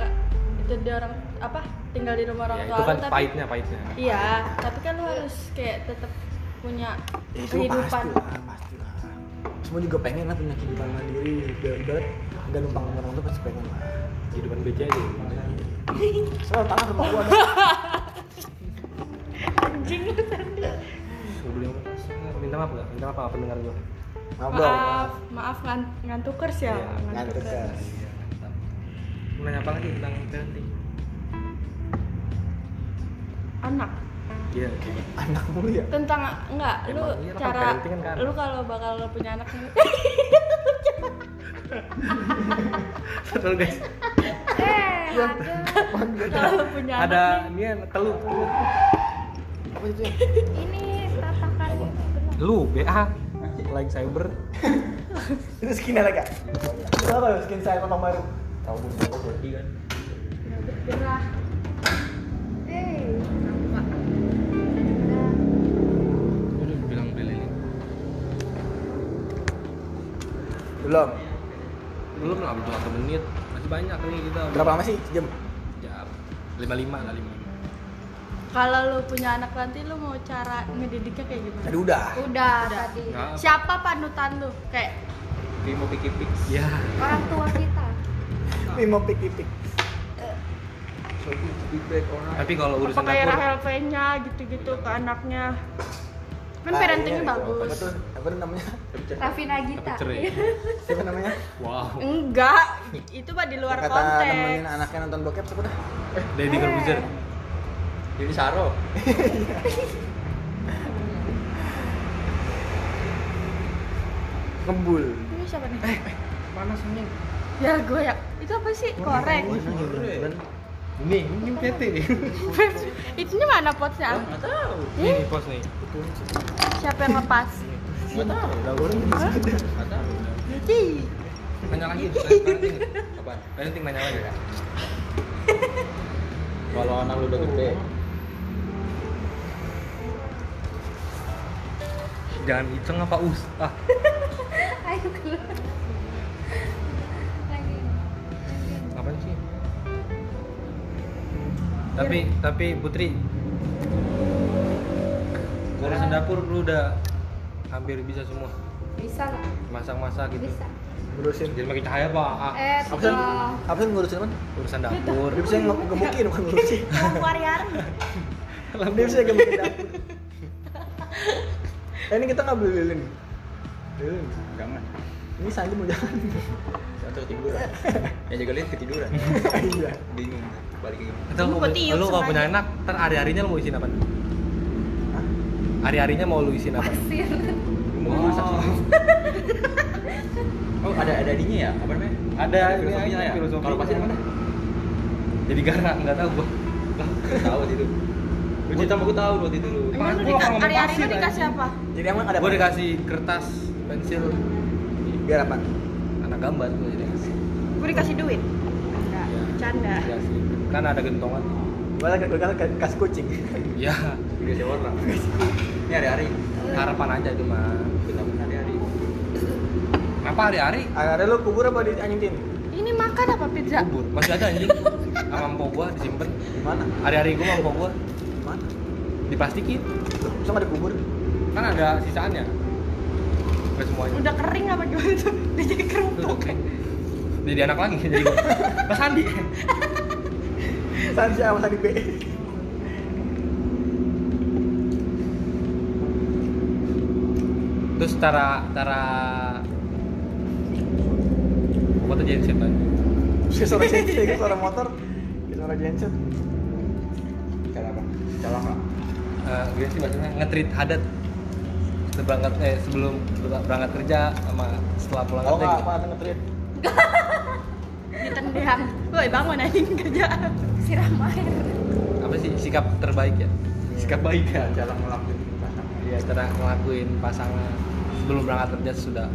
D: jadi orang apa? Tinggal di rumah orang
A: ya,
D: tua
A: itu kan
D: lu, tapi
A: pahitnya pahitnya
D: iya, tapi kan lu harus kayak tetap punya
B: Ya, itu
D: kehidupan.
B: pasti lah, pasti lah. Semua juga pengen lah punya kehidupan mandiri. Udah ibarat nggak numpang sama orang tuh pasti pengen lah.
A: kehidupan BC aja
B: Soal tangan sama gua.
D: Anjing lu tadi.
A: Gua beli mobil. minta maaf nggak minta maaf apa pendengar gua
B: Maaf dong.
D: Maaf, maaf ngan ngantukers ya.
A: Iya,
B: ngantukers.
A: Mau nanya apa lagi tentang parenting?
D: Anak.
A: Iya.
B: Anak mulu ya.
D: Tentang enggak lu
A: Emang iya, kan
D: cara
A: parenting kan ke anak.
D: lu kalau bakal punya anak nih,
A: Betul guys.
E: eh ada
D: kalau punya anak
A: Ada ini kan teluk. teluk.
B: Apa itu ya?
E: ini tatakan ini benar
A: Lu BA like cyber.
B: Itu skin ada kak? Itu apa ya skin saya potong baru?
A: Tahu dulu berarti kan.
E: gerah eh nampak
F: udah bilang beli lilin
B: Belum.
F: belum lah belum satu menit masih banyak nih kita
B: Berapa lama sih? Sejam.
F: jam lima lima lah lima lima
D: kalau lu punya anak nanti lu mau cara ngedidiknya kayak gimana?
B: Tadi udah.
E: udah, tadi
F: Nggak apa.
D: Siapa panutan lu? Kayak
A: Dia mau pikir pik. Ya.
E: orang tua kita
B: Ini mau pik pik.
F: tapi kalau urusan
D: apa kayak
F: dapur
D: Rahel V-nya gitu-gitu ke anaknya. Kan
A: Nah,
B: Ah,
D: parentingnya
B: iya, Apa
D: bagus.
B: tuh? Apa tuh namanya?
E: Rafina Gita
F: cerai
B: Siapa namanya?
F: wow
D: Enggak, itu mah di luar
B: Yang Kata
D: konteks.
B: nemenin anaknya nonton bokep siapa dah?
F: Deddy Corbuzier
C: Jadi Saro.
B: Ngembul.
D: Ini siapa nih?
B: Panas ini.
D: Ya gue ya. Itu apa sih? Korek.
B: Iya.
A: Ini, ini PT nih.
D: Itunya mana potnya?
C: Enggak tahu.
A: Ini pos nih.
D: Siapa yang lepas?
C: Enggak tahu.
B: Lah goreng
C: Enggak tahu.
D: Cici.
A: Nanya lagi. Apa? Penting nanya lagi ya.
C: Kalau anak lu udah gede,
A: Jangan iceng apa us? Ah,
E: Iya, Ayo keluar. Lagi.
A: ngapain sih? Tapi tapi Putri urusan dapur lu udah hampir bisa semua
E: Bisa lah.
A: masak-masak gitu.
E: Bisa.
B: Ngurusin.
A: Jadi pakai cahaya pak. Ah,
E: Eh,
B: Apa sih?
E: tinggal
B: Apa sih ngurusin man?
A: urusan dapur.
B: Dia bisa ngegemukin bukan ngurusin.
E: Jangan warrior.
B: Dia bisa ngegemukin dapur. Eh ini kita nggak beli lilin. Lilin.
C: jangan.
B: Ini Sanji mau jalan.
C: Satu ketiduran. Yang jaga lihat ketiduran.
B: Iya.
C: Bingung balik ke rumah.
A: Itu
D: Lu
A: lu,
D: kok tiup
A: lu kalau punya
D: semuanya?
A: anak, ntar hari-harinya lu mau isiin apa? Hari-harinya mau lu isiin apa?
E: Pasir.
C: Mau masak. Oh, ada ada dinya ya? Apa namanya?
A: Ada ini
C: filosofinya
A: aja,
C: ya.
A: filosofinya.
C: Kalau pasir mana?
A: Jadi gara, nggak tahu gua.
C: Nggak Tahu waktu itu. Lu cerita sama gua tahu waktu itu lu.
D: Emang lu
A: Gua
D: dika-
A: kalau mau
D: hari-hari lu
A: pasir,
D: dikasih apa?
B: Jadi emang ada.
A: Gua
B: apa?
A: dikasih kertas, pensil,
B: Biar apa?
A: anak gambar gua jadi kasih.
D: Gue dikasih duit. Enggak,
C: Iya.
D: bercanda.
A: Dikasih. Kan ada gentongan.
B: Gua lagi gua lagi kasih kucing.
A: Ya,
C: Video sewa orang. Ini hari-hari.
A: harapan aja itu mah.
C: Benar-benar hari-hari.
A: Apa hari-hari?
B: Ada lu kubur apa di anjing tin?
D: Ini makan apa pizza?
A: Kubur. Masih ada anjing. Sama empok gua disimpan.
B: Di mana?
A: Hari-hari gua sama empok gua
B: Di mana?
A: diplastikin.
B: Loh, Masa nggak ada kubur?
A: Kan ada sisaannya. Gak semuanya.
D: Udah kering apa gimana tuh? Dia jadi kerupuk.
A: Oke. Jadi anak lagi jadi gua. Mas Andi.
B: Sanji sama Sanji B.
A: Terus cara cara Gua tuh jadi ya? setan.
B: Kayak suara genset, kayak suara motor, kayak suara genset.
C: Cara apa? Cara apa?
A: Eh, gimana sih maksudnya ngetrit hadat sebelum berangkat eh sebelum berangkat kerja sama setelah pulang
B: Kalau
A: kerja
B: Oh, nggak
A: gitu.
B: apa ngetrit?
D: Ditendang. Woi, bangun anjing kerjaan.
E: Siram air.
A: apa sih sikap terbaik ya sikap baik ya
C: Cara ngelakuin pasangan.
A: ya cara ngelakuin pasangan sebelum berangkat kerja sudah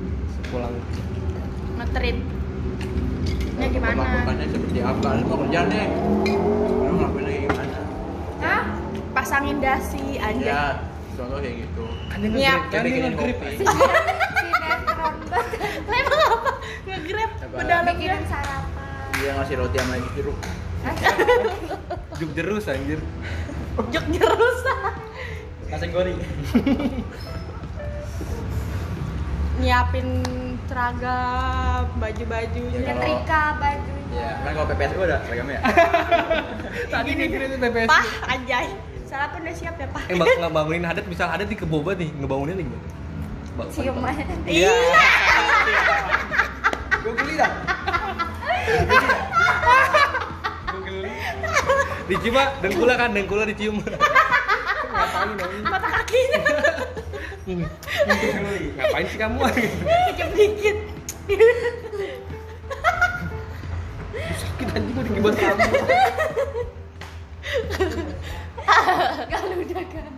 A: pulang
D: Ngetrit. Ya gimana?
C: Perlakukannya seperti apa? Lu mau kerja nih? Lu ngelakuin lagi gimana?
D: Hah? Pasangin dasi
C: Ya,
D: anjing.
C: contoh kayak gitu.
A: kan
D: dia nge-grip,
C: kan dia nge-grip.
E: Sinetron banget.
D: Lah emang apa? Nge-grab
C: Coba.
D: pedalamnya.
E: Bikinin sarapan.
C: Dia ngasih roti sama lagi jeruk.
A: juk jerus anjir
D: Jok jerus.
C: Kacang goreng.
D: Nyiapin seragam,
C: Ya,
D: baju-bajunya.
C: kalau-
E: Nyetrika bajunya.
C: Ya, kan kalau PPS gua ada seragamnya ya.
A: tadi ngirim itu TPS
D: Pah, anjay. Sarapan udah siap ya, Pak?
A: eh bak nggak bangunin hadat misal hadat di keboba nih ngebangunin lagi Bang,
E: Ciuman.
D: Iya.
C: Gua beli dah.
A: dicium Pak. dengkula kan dengkula dicium
C: Ngapain dong?
D: Mata kakinya
C: Gua beli.
A: ngapain sih kamu
D: kejep dikit.
A: sakit anjing gua dikibat kamu
E: Kalau udah kan.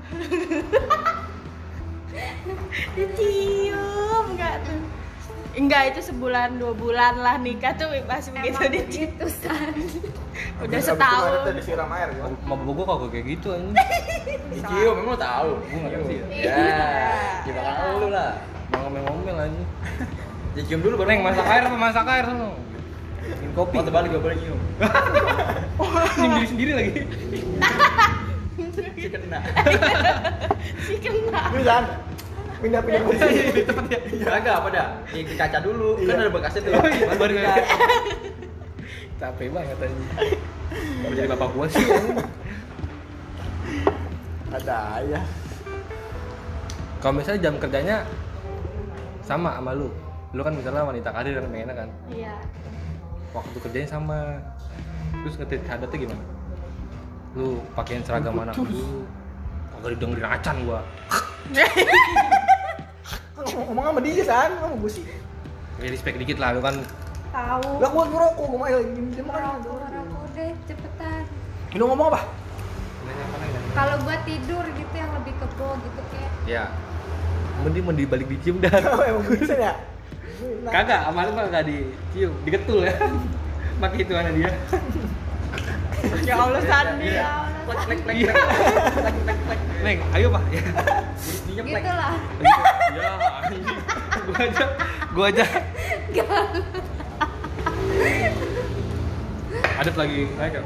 D: Dicium enggak tuh? Enggak, itu sebulan dua bulan lah nikah tuh masih
E: Emang
D: begitu dicium.
E: begitu kan.
D: Udah
B: Abis- abis itu
D: setahun.
B: ada disiram air gitu.
A: mabuk gua kok kayak gitu anjing
C: Dicium, emang lu tahu?
A: Gua nggak tahu sih ya.
C: Ya, jebakan lu lah.
A: mau ngomel-ngomel anjing Ya,
C: Dicium dulu baru
A: Neng masak air apa masak air sono? Bikin kopi.
C: Oh, terbalik gua boleh nyium.
A: Anjing diri sendiri lagi.
C: Si kena.
D: Si kena.
B: Lu jangan pindah-pindah kursi.
A: Di tempat ya.
C: Kagak apa dah? Di ke kaca dulu.
B: Iya.
C: Kan ada bekasnya tuh.
A: Oh, iya.
C: Baru kita.
A: Capek banget anjing. Mau jadi bapak gua sih. anjing.
B: Ada aja.
A: Kalau misalnya jam kerjanya sama sama lu. Lu kan misalnya wanita karir dan pengennya kan.
E: Iya.
A: Waktu kerjanya sama. Terus ngetit hadatnya gimana? lu pakaiin seragam anak dulu kagak didengerin acan gua
B: Kan ngomong- ngomong sama dia san sama gue sih
A: kayak respect dikit lah lu kan
E: tahu
B: lah gue ngerokok gue main lagi dia makan
E: ngerokok ngerokok deh cepetan
B: lu ngomong apa
E: kalau gua tidur gitu yang lebih kebo gitu kayak
A: ya mending mending balik dicium dah
B: emang bisa ya Nah,
A: kagak kemarin mah kagak dicium digetul ya pakai itu anak dia
D: ya Allah Sandi
E: ya Allah
A: plek plek plek plek plek plek plek Iya. neng ayo pak ya bunyinya plek
E: gitu lah
A: ya anjing. gua aja gua aja ada lagi ayo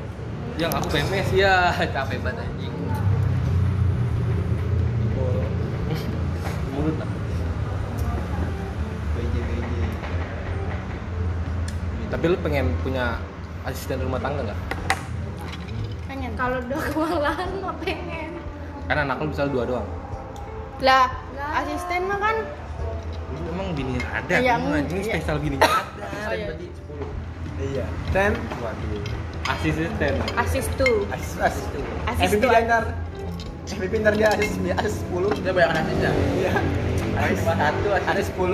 A: yang aku PMS ya capek banget anjing mulut ah.
C: BJ BJ
A: tapi lu pengen punya asisten rumah tangga nggak
E: pengen kalau udah kewalahan mah pengen
A: karena anak lu misalnya dua doang
D: lah
E: Lah.
D: asisten mah kan
A: Lu emang bini ada
D: Iya,
A: emang anjing
D: iya.
A: spesial bini ada
D: Oh, iya.
B: iya ten
A: waduh asisten
D: asis tuh
B: asis asis
D: Asis
B: MVP
D: tuh.
B: dia ntar MVP ntar dia asis
C: Ya,
B: asis 10
C: kita banyak asis ya
B: iya
C: asis satu
B: asis 10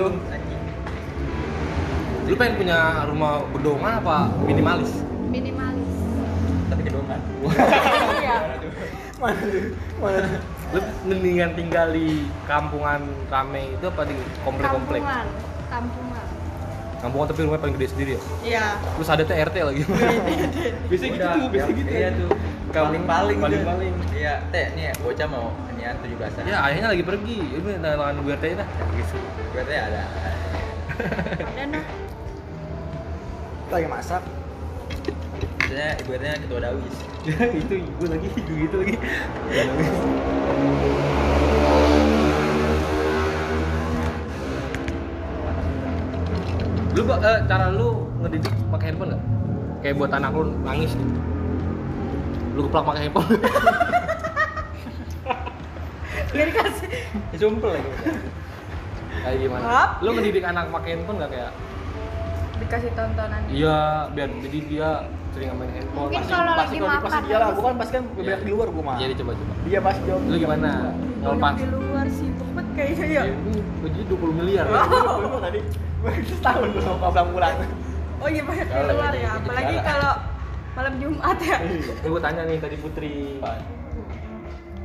A: lu pengen punya rumah gedongan apa minimalis
E: minimalis
C: tapi kedongan
D: iya
B: mana tuh mana tuh
A: lu mendingan tinggal di kampungan rame itu apa di komplek komplek
E: kampungan kampungan
A: kampungan tapi rumahnya paling gede sendiri ya
D: iya
A: terus ada tuh RT lagi bisa gitu tuh bisa gitu
C: iya tuh
A: Kampung-
C: paling paling
A: paling paling
C: iya teh nih ya, bocah mau niat tujuh belasan
A: ya ayahnya lagi pergi ini nah, tangan gue RT dah gitu
C: berarti ada
D: dan
B: lagi masak
C: biasanya ibu RT nya ketua dawis
A: ya itu gue lagi gue gitu lagi lu Pak, eh, cara lu ngedidik pakai handphone nggak kayak buat anak lu nangis nih lu keplak pakai handphone
D: jadi kasih
A: jumpel lagi kayak gimana
D: Maaf.
A: lu ngedidik anak pakai handphone nggak kayak
D: dikasih tontonan
A: iya biar jadi dia sering main handphone
E: Mungkin
A: Pasti-
E: kalau
A: pasti
E: lagi
A: kalau di-
B: pasti
E: makan
B: dia lah gue kan pasti kan banyak di luar gue mah
A: jadi coba coba
B: dia pasti jawab
A: lu gimana
D: banyak
A: ngelepas
D: di luar sibuk banget kayaknya ya
A: ya gaji 20 miliar ya.
B: Gua tadi gue setahun gue sama pulang-pulang
D: oh iya banyak di
C: Kalau lagi
D: luar ya
C: jadi
D: apalagi
C: jalan.
D: kalau malam Jumat ya
B: Iya.
A: Ini gue tanya nih tadi Putri.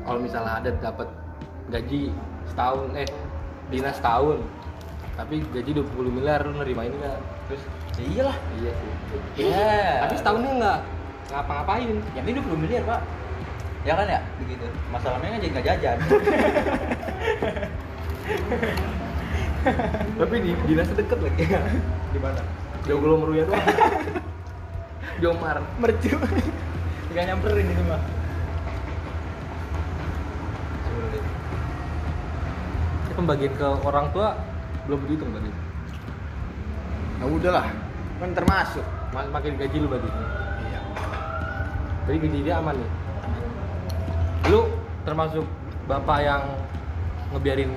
A: Kalau misalnya ada dapat gaji setahun eh dinas setahun tapi gaji 20 miliar lu nerima ini enggak?
C: terus ya iyalah
A: Iya sih.
C: iya
A: Tapi setahunnya enggak ngapa-ngapain.
C: yang ini 20 miliar pak ya kan ya begitu masalahnya kan jadi nggak jajan
A: Tapi di dinasnya deket lagi.
B: Iya. di mana
A: Jauh lu meruya doang. Jomar.
B: mercu
C: tinggal nyamperin itu mah sulit
A: Ini Pembagian ke orang tua belum dihitung tadi.
B: ya udahlah kan termasuk
A: Mas makin gaji lu berarti.
B: iya
A: Jadi gaji dia aman nih. Lu termasuk bapak yang ngebiarin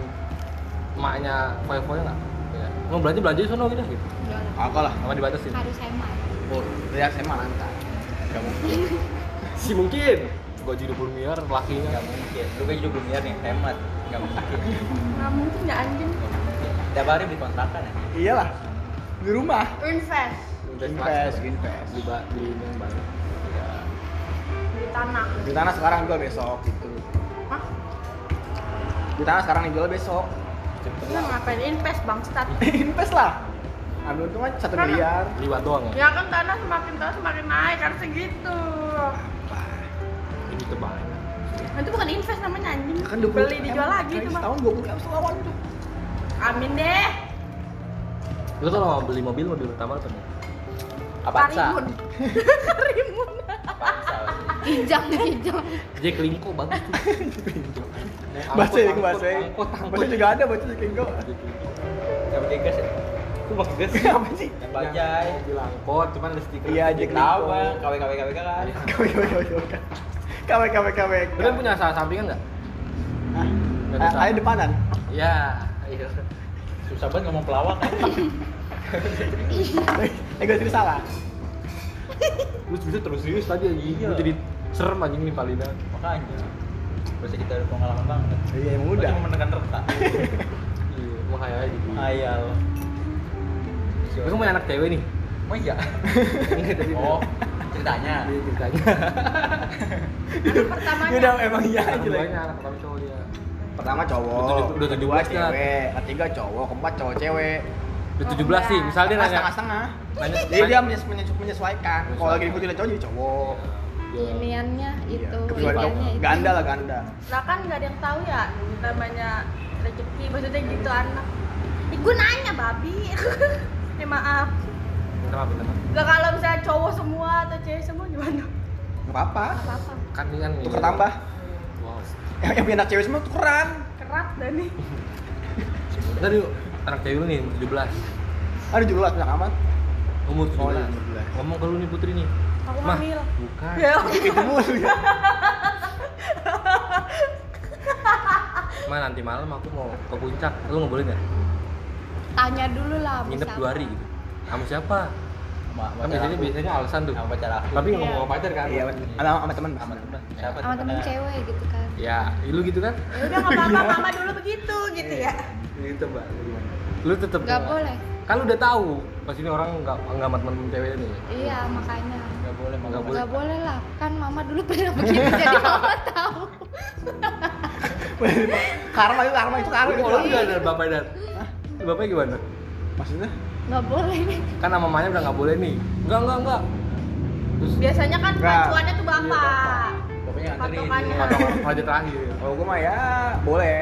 A: emaknya foya-foya nggak?
B: Iya.
A: Ya. Mau belanja belanja di sono gitu gitu.
E: Enggak lah.
B: aku lah
A: Sama dibatasin.
E: harus hemat
B: oh dari SMA lantai gak mungkin
A: Si mungkin gaji 20 miliar kan. lakinya.
C: nggak mungkin lu gaji 20 miliar nih hemat nggak mungkin
D: nggak mungkin nggak anjing
C: tiap hari beli kontrakan ya
B: iyalah Iya di rumah
E: invest
B: invest gitu. invest
A: Di ba- di ini yang baru.
E: di tanah
B: di tanah sekarang jual besok gitu
D: Hah?
B: di tanah sekarang dijual besok
D: Lu ngapain invest bangsat
B: invest lah ambil untung aja satu
D: Mana?
B: miliar
A: Liwat doang ya.
D: ya kan tanah semakin tua semakin naik harusnya gitu
A: Ini kebanyakan.
D: itu bukan invest namanya anjing
B: kan 20
D: beli dijual
B: M,
D: lagi
B: kali
D: itu mah
B: setahun 20 m selawan tuh
D: amin deh
A: Lu kalau mau beli mobil mobil pertama apa nih?
C: Avanza
D: Parimun Parimun
C: Avanza
E: kijang kijang
A: Jack Linko bagus tuh. Yang
B: bahasa ya
A: angkot,
B: bahasa ya
A: Angkot angkot.
B: bahasa juga ada bahasa juga enggak
A: Jack Linko.
C: nggak beli gas ya
A: Itu bagus guys.
B: apa sih
C: yang bajai
A: Mobil angkot cuman ada stiker.
B: iya Jack Linko
C: Tawa, KW KW KW kan.
B: kawe kawe kawe kawe kawe kawe
A: Lu kan punya usaha sampingan nggak? Nggak
B: Ah,
A: ada
B: ayo
A: sampingan.
B: depanan
A: Ya, iya.
C: Susah banget ngomong pelawak. ya.
B: eh gue sendiri salah Iya.
A: Lu sebenernya terus serius tadi aja. Lu jadi serem anjing nih Palina
C: makanya biasa kita ada pengalaman banget
B: Iya, emang
C: Gua
B: udah.
C: cuma menekan retak
A: iya mau kayak aja gitu
B: Ah,
C: ayal
B: iya.
A: Lu kan punya anak cewek nih
C: oh iya
A: Enggak, tadi
C: oh ceritanya
A: Iya, ceritanya
E: pertamanya
B: Ya udah emang iya
A: anak
B: aja lah.
A: keduanya, anak pertama cowok dia
B: Pertama cowok,
A: Udah- udah
B: kedua
A: 17 kan?
B: cewek, ketiga cowok, keempat cowok cewek.
A: udah
E: Oh,
A: 17 sih
E: enggak.
A: misalnya dia
B: Nah,
A: nanya
B: setengah-setengah.
A: nanya
B: Jadi dia menyesu- menyesu- menyesuaikan. Kalau lagi diikuti oleh cowok jadi cowok.
A: Iya.
E: iniannya
D: Gitu,
E: itu
B: Kecuali
A: iya,
B: cowok.
E: iniannya itu
B: Ganda lah ganda.
D: Lah kan nggak ada yang tahu ya namanya rezeki. Maksudnya gitu anak.
E: Ih, gua nanya babi
D: Eh maaf.
A: minta maaf minta maaf
D: Lah kalau misalnya cowok semua atau cewek semua gimana?
B: Gak apa-apa.
E: apa apa
A: kan ini kan
B: Tuker tambah.
A: wow
B: Yang yang punya anak cewek semua tukeran.
D: Kerat dan nih.
A: Ntar yuk, anak cewek lu nih umur 17
B: Aduh jelas banyak amat.
A: Umur
B: Oh, iya,
A: 17
B: umur 17.
A: Ngomong ke lu nih Putri nih
D: Aku
A: Mah,
D: hamil.
A: Bukan
D: Ya.
B: Itu mulu ya.
A: Ma nanti malam aku mau ke puncak Lu nggak boleh nggak?
E: tanya dulu lah sama
A: Nginep
E: siapa.
A: 2 hari gitu Sama siapa?
C: sama
A: Kan biasanya biasanya alasan tuh
C: sama pacar aku
A: Tapi nggak ngomong sama pacar kan?
B: Iya, sama sama teman.
C: sama temen siapa
E: sama temen
C: temennya?
E: cewek gitu kan
A: Ya, lu gitu kan?
D: Ya udah nggak apa-apa.
B: Iya.
D: Mama dulu begitu gitu ya.
B: Itu mbak. gimana?
A: Lu tetep
E: nggak boleh
A: Kan lu udah tahu Pas ini orang nggak nggak sama temen cewek nih
E: iya makanya
C: nggak boleh
A: Nggak
C: nggak boleh
E: nggak boleh lah kan mama dulu pernah begini jadi mama tahu
B: Karma itu karma itu karma. Iya.
A: Lu kalau nggak ada bapak dan Bapaknya gimana?
B: Maksudnya?
E: nggak boleh nih
A: Kan sama mamanya udah nggak boleh nih Enggak, enggak, enggak Terus
D: Biasanya kan
B: Nggak.
D: pacuannya tuh bapak.
C: pokoknya nganterin
D: Patokannya.
A: patok aja terakhir
B: Kalau gua mah ya boleh.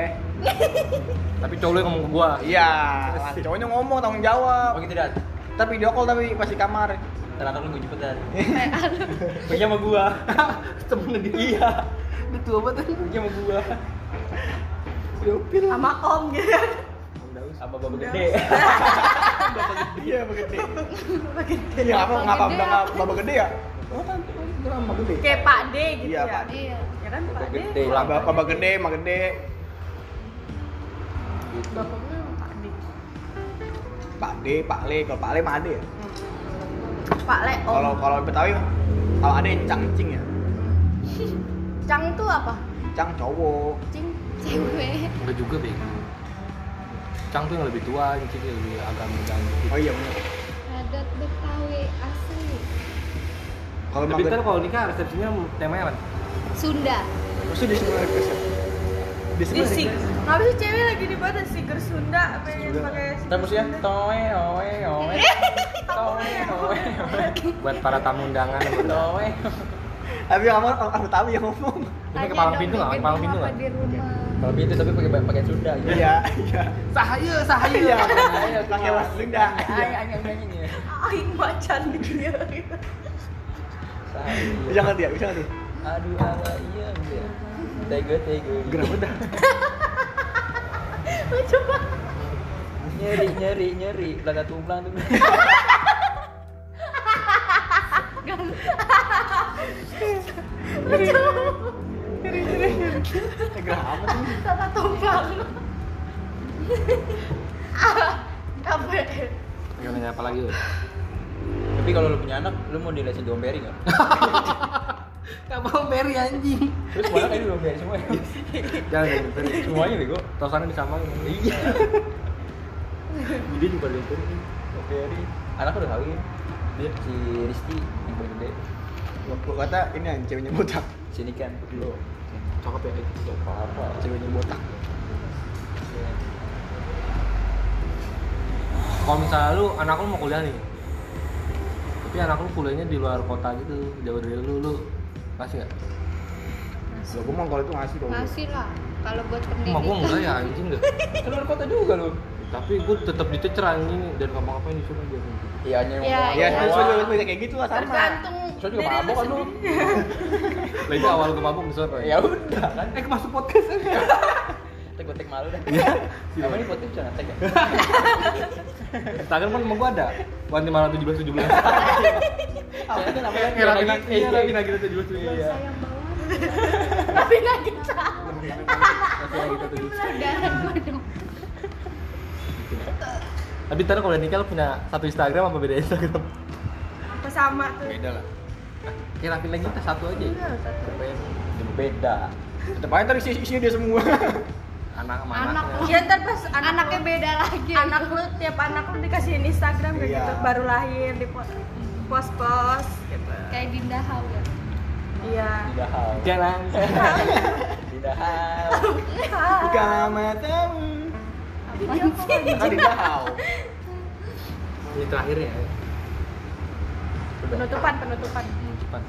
A: Tapi cowok lu yang ngomong ke gua
B: Iya. lah, Cowoknya ngomong tanggung jawab.
C: oh gitu dat
B: Tapi video call tapi pas di kamar.
C: ternyata lu gue jemput dat punya sama gua temen dia iya
A: Udah tua banget
C: punya sama gua
D: Sama om gitu.
C: sama bapak gede
B: Iya, begede. Begede. Iya, apa ngapa
E: Gede
B: udah
E: apa?
B: bapak gede ya? Oh kan, itu nama gede.
D: Kayak Pak D gitu
B: Iya,
D: ya.
B: Pak D.
E: iya
D: Ya kan Pak
C: Bapak
D: D.
C: gede.
B: Lah, bapak bapak gede, mak gede.
D: Bapaknya Pak D.
B: Pak D, Pak Le, kalau Pak Le mah Ade ya.
D: Pak Le Om.
B: Kalau kalau Betawi kalau Ade cangcing ya.
D: Cang tuh apa?
B: Cang cowok.
E: cing cewek
A: Enggak juga, Bek. Cang tuh yang lebih tua, Cing yang lebih agak muda gitu.
B: Oh iya benar.
E: adat betawi asli
B: Kalau mak
A: Tapi kan
B: gede,
A: kalau nikah resepsinya temanya apa?
E: Sunda
B: maksudnya di sebelah resep. Di
D: Di
B: sebelah
D: sik.
B: resep.
D: Kenapa sih cewek lagi dibuat Siker Sunda pengen
B: Sunda.
D: pakai
C: Ntar
D: siker
C: musuhnya toe oe
E: Iya.
C: oe toe oe oe
A: Buat para tamu undangan.
C: toe
B: Tapi kamu orang Betawi yang ngomong.
A: Ini
E: Tanya
A: kepala
E: dong
A: pintu nggak?
E: di
A: Kepala
E: gedung
A: pintu
E: apa
A: nggak?
E: di rumah
C: kalau gitu tapi pakai pakai Sunda gitu
B: Iya, iya.
A: Sahaya, sahaya.
B: Iya, pakai bahasa Sunda. Iya.
C: Ay, ay, ay, ay, ya. ay.
D: aing macan gitu ya.
C: Sahaya.
B: Bisa ngerti ya, bisa ngerti.
C: aduh ala iya iya. tega tega
B: Gerak udah.
C: nyeri nyeri nyeri laga tumplang tuh
B: Gerak amat sih.
D: Tata tumpang. Ah, Apa? ya?
A: Enggak nanya apa lagi.
C: tapi kalau lu punya anak lu mau dilesin domperi nggak
A: Enggak mau beri anjing.
C: terus malah kan domperi semua ya?
A: Jangan dong, beri.
C: semuanya bego
A: Tosannya disamain.
C: iya
B: Jadi juga lentur.
C: domperi anak udah kawin dia si Risti yang paling gede
B: Gua kata ini yang ceweknya botak.
C: sini kan lu
A: Cakep ya.
C: apa apa
B: Ceweknya botak.
A: Kalau misalnya lu anak lu mau kuliah nih. Tapi anak lu kuliahnya di luar kota gitu, jauh dari lu, lu kasih nggak?
B: Lah gua mau kalau itu ngasih dong.
E: ngasih lah kalau buat
A: Cuma gua enggak
E: pendidikan
A: ya anjing deh.
C: kan Iya. luar kota juga lu
A: Tapi gua tetap dicecer anjing dan ngapa-ngapain disuruh dia.
C: iya hanya
E: Iya,
B: Ya,
E: iya.
B: itu juga kayak gitu lah sama.
D: Tergantung
C: Soalnya juga
D: diri lu
C: mabok kan lu.
D: sendiri.
A: Lagi awal ke mabuk disuruh.
C: ya udah kan
A: Eh masuk podcast
C: tek gua tek malu dah apa ini podcast jangan tek ya
A: Instagram kan emang gua ada. Wanti malam 17 17.
C: apa itu namanya
A: Iya, Ragina- iya, Ragina kita 17
E: Bahasa yang bawah
D: Tapi nggak kita.
A: Ragina kita 17.
E: saudara gua dong
A: Tapi ntar kalau udah nikah lu punya satu Instagram apa beda Instagram?
D: Apa sama tuh?
B: Beda lah.
A: kayak laki-laki kita satu aja ya?
D: Iya, satu.
C: beda
B: Tetep aja ntar isi- isinya dia semua.
A: anak sama
E: Anak.
A: anaknya.
D: Ya ntar pas anak
E: Anaknya
D: lu-
E: beda lagi.
D: anak lu tiap anak lu dikasihin Instagram kayak
B: Iya.
D: gitu baru lahir di po- pos-pos gitu.
E: kayak Dinda Hau ya.
D: Iya.
C: tidak hal
A: jalan
C: tidak hal
B: Buka matamu.
D: Iya.
E: Apa
C: kan tidak hal
A: ini terakhir ya
D: Penutupan, penutupan.
A: cepat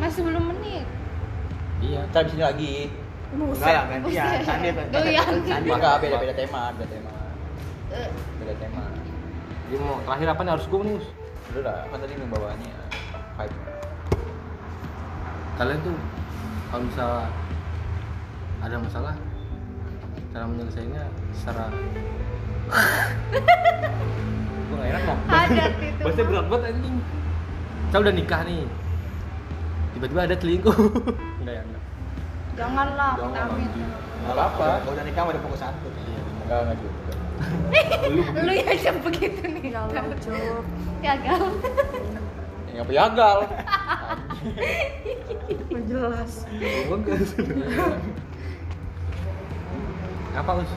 E: Masih belum menit.
A: iya
C: kita di sini lagi
B: Enggak lah,
D: Buset.
A: ya,
B: gantian.
E: ya.
B: Sandi,
E: Doyan.
B: Sandi.
C: enggak beda beda tema beda tema
E: Eh,
C: beda tema
A: jadi mau terakhir apa nih harus gue nih Us?
C: dulu lah kan tadi membawanya hype
A: kalian tuh kalau misalnya ada masalah cara menyelesaikannya secara gue gak enak ngomong
E: Adat itu.
A: Bahasanya berat banget anjing. Saya udah nikah nih. Tiba-tiba ada selingkuh. Enggak ya, enggak.
E: Janganlah,
A: Jangan,
E: amit-amit.
B: Enggak apa-apa. Kalau udah nikah udah fokus satu.
A: Iya.
C: enggak enggak juga
E: Lu ya jam begitu nih.
D: Galau, Cuk.
E: Ya galau.
C: yang piagal
D: Nggak jelas.
A: Gue enggak Apa us?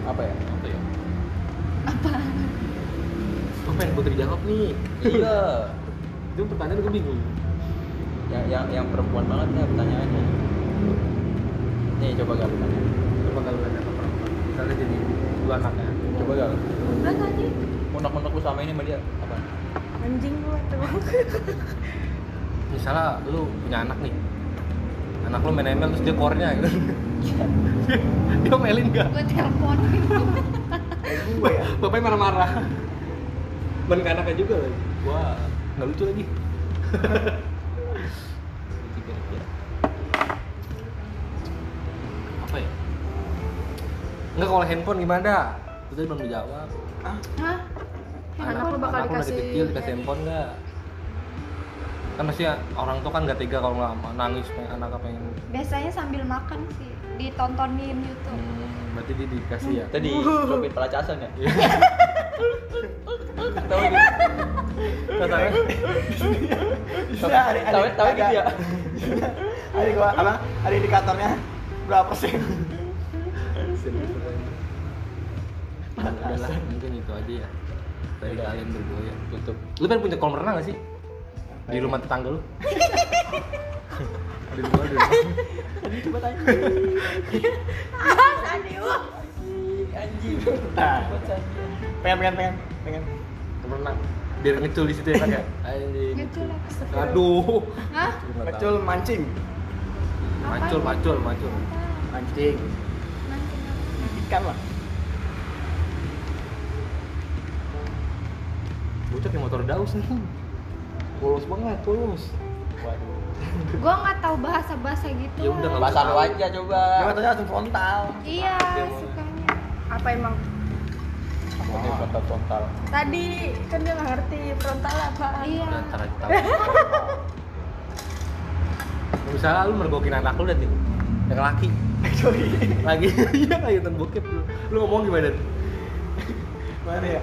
C: apa ya
A: Apa ya? Apa? Gue pengen putri jawab nih.
C: iya
A: Itu pertanyaan gue bingung.
C: yang yang yang perempuan banget ya pertanyaannya nih coba gal tanya
A: Coba kalau ada apa perempuan. Misalnya jadi dua ya. anaknya.
C: coba gal
D: Udah tadi.
C: unek-unek lu sama ini sama dia apa
D: Anjing gua tuh.
A: Misalnya lu punya anak nih. Anak lu main ML terus dia core-nya gitu. dia melin enggak?
E: Gue teleponin.
B: Gue ya.
A: Bapaknya marah-marah. Men ke anaknya juga lagi. Wah, nggak lucu lagi.
C: tiga tiga
A: Apa ya? Enggak kalau handphone gimana? Itu tadi belum dijawab.
E: Hah?
D: Anak lu bakal
A: anak lu dari
D: dikasih-
A: kecil dikasih handphone nggak? Kan pasti orang tua kan nggak tega kalau nggak mau nangis pengen anak apa yang
E: Biasanya sambil makan sih, ditontonin YouTube.
A: hmm, berarti dia dikasih ya.
C: tadi sopir pelacasan ya
B: Iya,
C: tahu gitu
A: Katanya
B: Bisa ada ada
C: tahu tahu gitu ya
B: Ada gua apa? Ada indikatornya berapa persen?
A: udah lah, mungkin itu aja ya. Dari
C: Udah.
A: kalian berdua ya.
C: tutup
A: Lu pengen punya kolam renang gak sih? Di rumah tetangga lu? di rumah, di rumah.
B: Coba tanya.
D: Ah, tadi. Wah.
C: anjing
B: Nah. Pengen pengen pengen pengen.
A: Kolam renang. Biar ngecul di situ ya kan ya? Anjing.
E: Gitu lah.
A: Aduh.
E: Hah?
B: Ngecul mancing.
A: Macul, macul, macul.
B: Mancing. Ikan lah.
A: Bocah kayak motor daus nih.
B: Polos banget, polos.
C: waduh
E: Gue nggak tahu bahasa bahasa gitu.
A: Ya udah, nggak
E: lah.
C: bahasa lu aja coba
B: Jangan tanya langsung frontal.
E: Iya,
A: Dia mau-
E: sukanya.
D: Apa emang?
C: aku nih frontal frontal
D: Tadi kan dia nggak ngerti frontal apa.
E: Iya.
A: Udah ntar aja tahu. Misalnya lu mergokin anak lu dan yang laki
B: Sorry.
A: lagi iya lagi nonton bokep lu. Lu ngomong gimana?
B: Mana ya?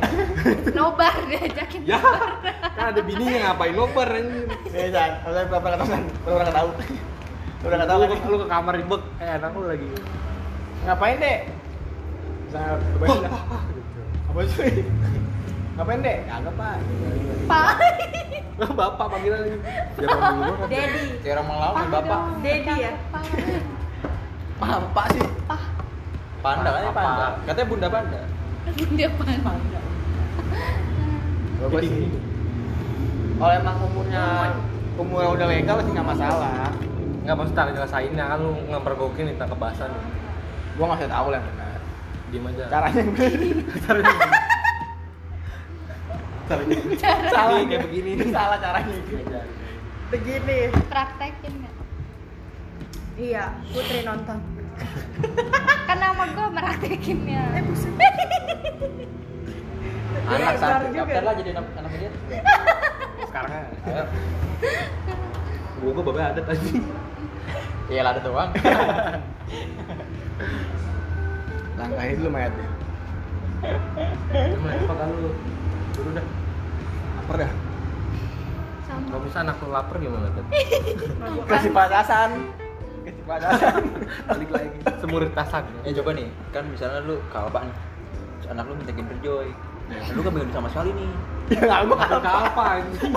E: Nobar diajakin.
A: Ya, kan ada bininya ngapain nobar anjir.
B: Eh, San, kalau berapa kata San? Berapa kata tahu? Udah
A: Lu,
B: nggak tahu
A: lu,
B: kan?
A: lu ke kamar ribet, eh anak lu lagi.
B: Ngapain, Dek? Misalnya, ngapain dah? Apa sih? Ngapain, Dek? Kagak, Pak.
E: Pak.
A: Lah, bapak panggilan lagi. Jangan dulu banget.
D: Daddy.
C: kayak orang melawan
E: Pak
C: bapak
E: dong,
D: Dedi ya?
E: Pak.
B: Paham, Pak sih.
E: Pak.
C: panda katanya
A: Apa?
C: panda katanya bunda panda
E: Dia Pak.
B: Bapak
A: Jadi-
B: sih. Kalau emang umurnya umurnya udah legal sih nggak masalah.
A: Enggak maksud tak nyelesainnya kan lu ngepergokin minta kebasan.
B: Gua nggak usah tahu lah yang benar.
A: Diem aja.
B: Caranya yang benar.
A: Caranya.
B: Salah
A: kayak begini.
B: Salah caranya.
A: Diem aja.
D: Begini.
E: Praktekin ya. nggak?
D: Iya, Putri nonton.
E: Kan nama gue meraktekin ya.
C: anak
D: Iya,
C: satu
D: benar juga.
C: daftar lah jadi anak anak dia
A: Sekarang kan.
C: Ayo.
A: Gua gua bapak ada tadi.
C: iya lah ada doang
B: Langkahin dulu mayatnya.
A: Emang apa kan lu? Dulu dah.
B: Apa dah?
E: Sama.
A: anak lu lapar gimana tuh?
B: kasih patasan kasih patasan
C: balik lagi
A: Semurit tasan.
C: ya coba nih kan misalnya lu kalpa nih Terus anak lu minta Kinder Joy lu kan belum sama sekali nih
B: ya nggak gue kalau
A: Kalpa anjing.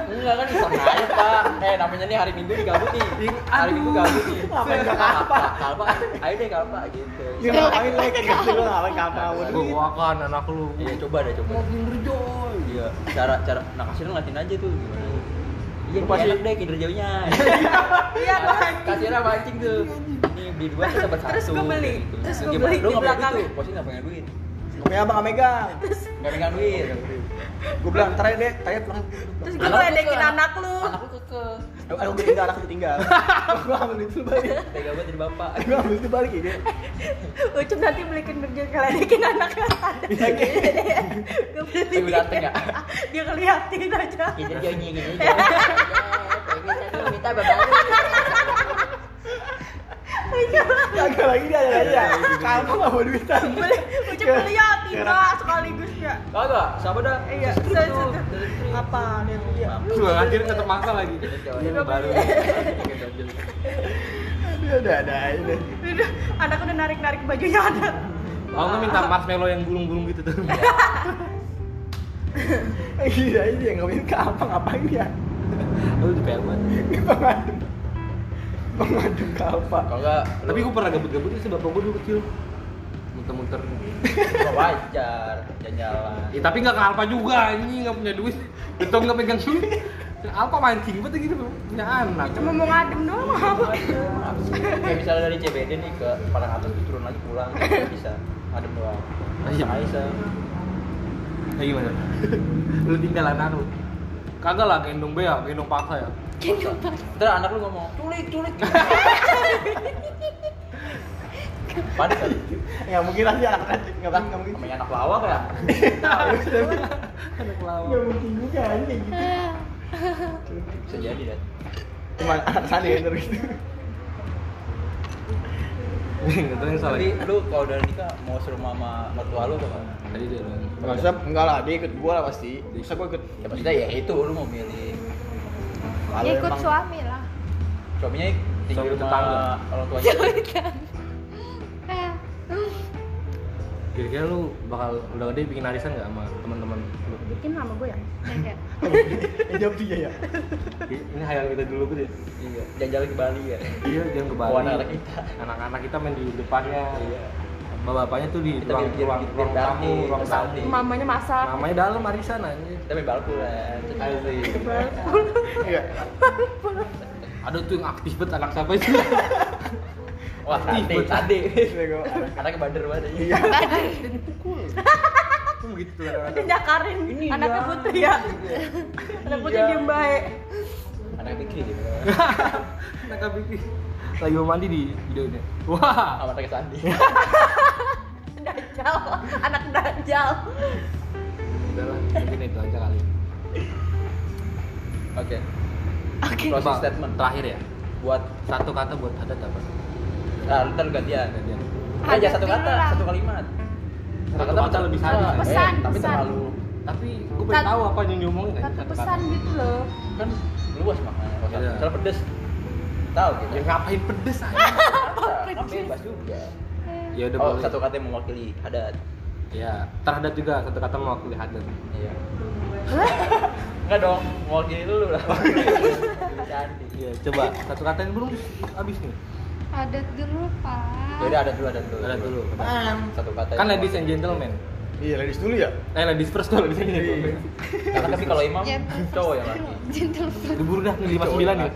C: enggak kan bisa aja pak eh namanya nih hari minggu digabut nih hari minggu gabut nih
B: Ngapain ke Kalpa?
C: kalpa ayo deh kalpa gitu
B: ya ngapain lo kayak gitu lo ngapain kapal
A: Gua makan anak lu.
C: Iya coba deh coba. Mau Kinder Joy. Iya. Cara cara nah kasih lu ngeliatin aja tuh gimana. Iya
B: Lu
C: pasti
B: pasti-
C: enak deh Kinder Joy-nya. Iya Kasih lah mancing tuh. Ini beli dua terus dapat satu.
D: Terus gua beli.
C: gitu.
D: Terus
C: Nah,
D: gua
C: gimana?
D: beli
C: Lu gitu? nggak punya
D: di belakang.
C: duit tuh. Posisi nggak punya duit.
B: punya abang nggak megang
C: Nggak pegang duit.
B: gue bilang ntar ya deh tanya pulang
D: Terus
C: Anak
D: gue
C: lu
D: ledekin
C: suka.
D: anak lu.
C: Anak lu kekeh.
B: aku ditinggal aku ditinggal gue ambil itu balik
C: Tega banget jadi bapak.
B: gue ambil itu balik ya
D: Ucup nanti belikin kerja ngeledekin anak lu.
B: bisa kayak
D: Gue beli.
C: Tapi berarti nggak?
D: Dia ngeliatin aja.
C: Kinder Joy-nya Kinder Joy. Minta minta bapak.
B: kagak lagi dia ada aja kamu nggak mau duitan
D: Beli, Ucup ngeliatin lah sekaligus ya.
C: Kagak, siapa dah?
D: Iya,
C: Terus
D: saya-
C: tuh,
D: saya-
C: terus tuh.
B: apa nih dia
A: Gua anjir tetap maksa lagi.
C: Iya,
D: Nggak
C: baru.
D: boleh.
B: Aduh, udah ada aja deh.
D: Udah, anak udah narik-narik bajunya anak.
A: Aku tuh minta marshmallow yang gulung-gulung gitu tuh.
B: Iya, ini yang ngapain ke apa ngapain ya?
C: Lu di PM banget.
B: Pengadu. Pengadu ke apa?
C: Kalau enggak,
A: Tapi gua pernah gabut-gabut sih bapak gua dulu kecil. Muter-muter.
C: Gak wajar, jalan-jalan
B: Iya.
A: Ya, tapi nggak ke Alfa juga, ini nggak punya duit. Betul nggak pegang duit. Alfa mancing banget gitu punya anak.
D: Cuma mau ngadem doang apa?
C: Kayak misalnya dari CBD nih ke Padang Atas tuh turun lagi pulang nggak bisa adem doang
A: Iya.
C: Aisyah
A: Ya gimana? lu tinggal anak lu. Kagak lah gendong bea, gendong paksa ya.
C: Ntar anak lu ngomong, culik, culik Panik kan?
B: Ya mungkin aja anak anjing nggak bang, nggak mungkin.
C: Namanya anak lawak ya?
A: Anak
B: Nggak
A: lawan.
B: mungkin juga anjing kayak gitu.
C: Bisa jadi, Dan
B: Cuma anak sana ya terus.
A: Enggak tahu Iya, yang salah.
C: Tapi lu kalau udah nikah mau suruh mama mertua lu apa kan?
A: Tadi dia lu.
B: Nggak usah, enggak lah dia ikut gua lah pasti. iya. Bisa gua ikut.
C: Ya maksudnya ya itu, lu mau milih
B: Kalau
E: Ya, ikut
B: emang-
E: suami lah
C: Suaminya tinggi
A: Suami
C: rumah
A: tetangga.
C: orang tuanya
E: Eh,
A: Kira-kira lu bakal udah gede bikin arisan enggak sama teman-teman lu?
D: Bikin sama gue ya?
E: enggak.
B: Ya, jawab dia ya.
A: Ini hayal kita dulu gitu ya.
C: Iya, jalan-jalan ke Bali ya
A: Iya, jangan ke Bali.
C: Buat anak kita.
A: Anak-anak kita main di depannya.
C: Iya
A: Bapak-bapaknya tuh di
C: Kita
A: ruang
C: bikin-
A: ruang
C: bikin
A: ruang
C: dandi,
A: tamu, ruang
C: pesan
A: tamu.
C: di-
D: Mamanya masak.
A: Namanya dalam arisan aja.
C: Kita main kan. balkulan
A: Asik.
B: Iya.
A: Ada tuh yang aktif banget anak siapa itu?
C: Wah, tadi,
A: Ribet.
C: tadi.
B: Iya, gua anak.
C: Anaknya bader banget aja.
B: Iya.
A: Begitu tuh
D: Udah
A: anak-anak.
D: nyakarin anaknya putri ya. Anak putri diem baik.
C: Anaknya gitu. pikir dia.
A: Anak KBP. Lagi mau mandi di videonya. Wah,
C: Sama anaknya Sandi.
D: Dajal, anak dajal.
A: udahlah, mungkin itu aja kali.
C: Oke.
D: Oke.
C: Closing
A: Bang,
C: statement.
A: terakhir ya.
C: Buat
A: Satu kata buat Hadat apa?
C: nah, ntar gantian.
A: Gantian.
C: Aja satu
E: Hadapi
C: kata,
E: dulu lah.
C: satu kalimat.
A: Satu
C: Kata-kata
A: kata lebih
C: pesan.
A: sadis.
E: Pesan,
C: Eh, tapi
E: pesan.
C: terlalu
A: Tapi gue pengen
E: Satu-
A: tahu apa yang diomongin aja
E: Satu
A: satu kata.
E: pesan gitu loh.
C: kan luas maknanya. Kalau satu-
A: Iya.
C: Misalnya pedes. Tahu gitu.
A: Ya ngapain pedes aja?
C: Apa? Kan bebas juga.
E: Eh,
A: ya udah
C: Oh,
A: boleh.
C: satu kata yang mewakili adat.
A: Ya, terhadap juga satu kata mewakili Hadat.
C: Iya. Enggak dong, mewakili lu lah. Sandi.
A: Iya, coba satu kata yang belum habis nih.
E: Adat dulu pak.
C: Jadi adat dulu, adat dulu.
A: Ada dulu.
C: Satu kata.
A: Kan
C: yang
A: ladies and gentlemen.
B: Iya, ladies dulu ya.
A: Eh, ladies first kalau ladies and gentlemen.
C: Karena Nah, tapi kalau imam
E: Ya,
C: cowok yang laki.
E: Gentle first.
A: Diburu dah nih 59 nih.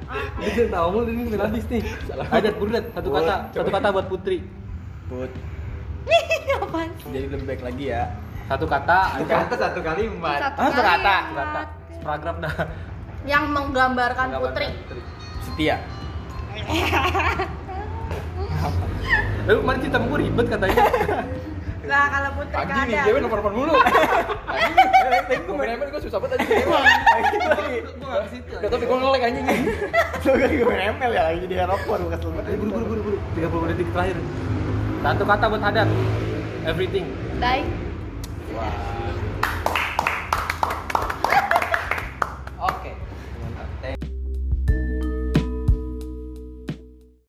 A: Dia jangan tahu mulu ini ladies nih.
C: Salah.
A: Ajat burudat satu kata,
B: Boleh,
A: satu
B: coba.
A: kata buat Putri.
B: Put,
E: Apaan?
B: jadi lebih baik lagi ya.
A: Satu kata, Ajat.
C: Kata satu kalimat.
E: Satu ya.
B: Ah, sekata.
E: kalimat.
A: Satu kata. Paragraf dah.
D: Yang menggambarkan
A: Tanggapan
D: putri.
A: Putri.
B: Setia.
A: Eh, kemarin cerita sama gua ribet katanya.
D: Nah, kalau putri
C: Pagi
D: gak
C: nih,
D: ada.
C: cewek nomor telepon mulu. Pagi nih, gue main handphone, gue susah banget tadi emang.
A: Gua enggak ke situ.
C: Gak tau, gue ngelag anjing.
B: Lo kan gue main ML ya, lagi di aeroport gue kesel banget.
A: Ayo, Eh, buru buru buru buru. 30 detik terakhir. Satu kata buat Hadat. Everything.
E: Baik.
C: Wah,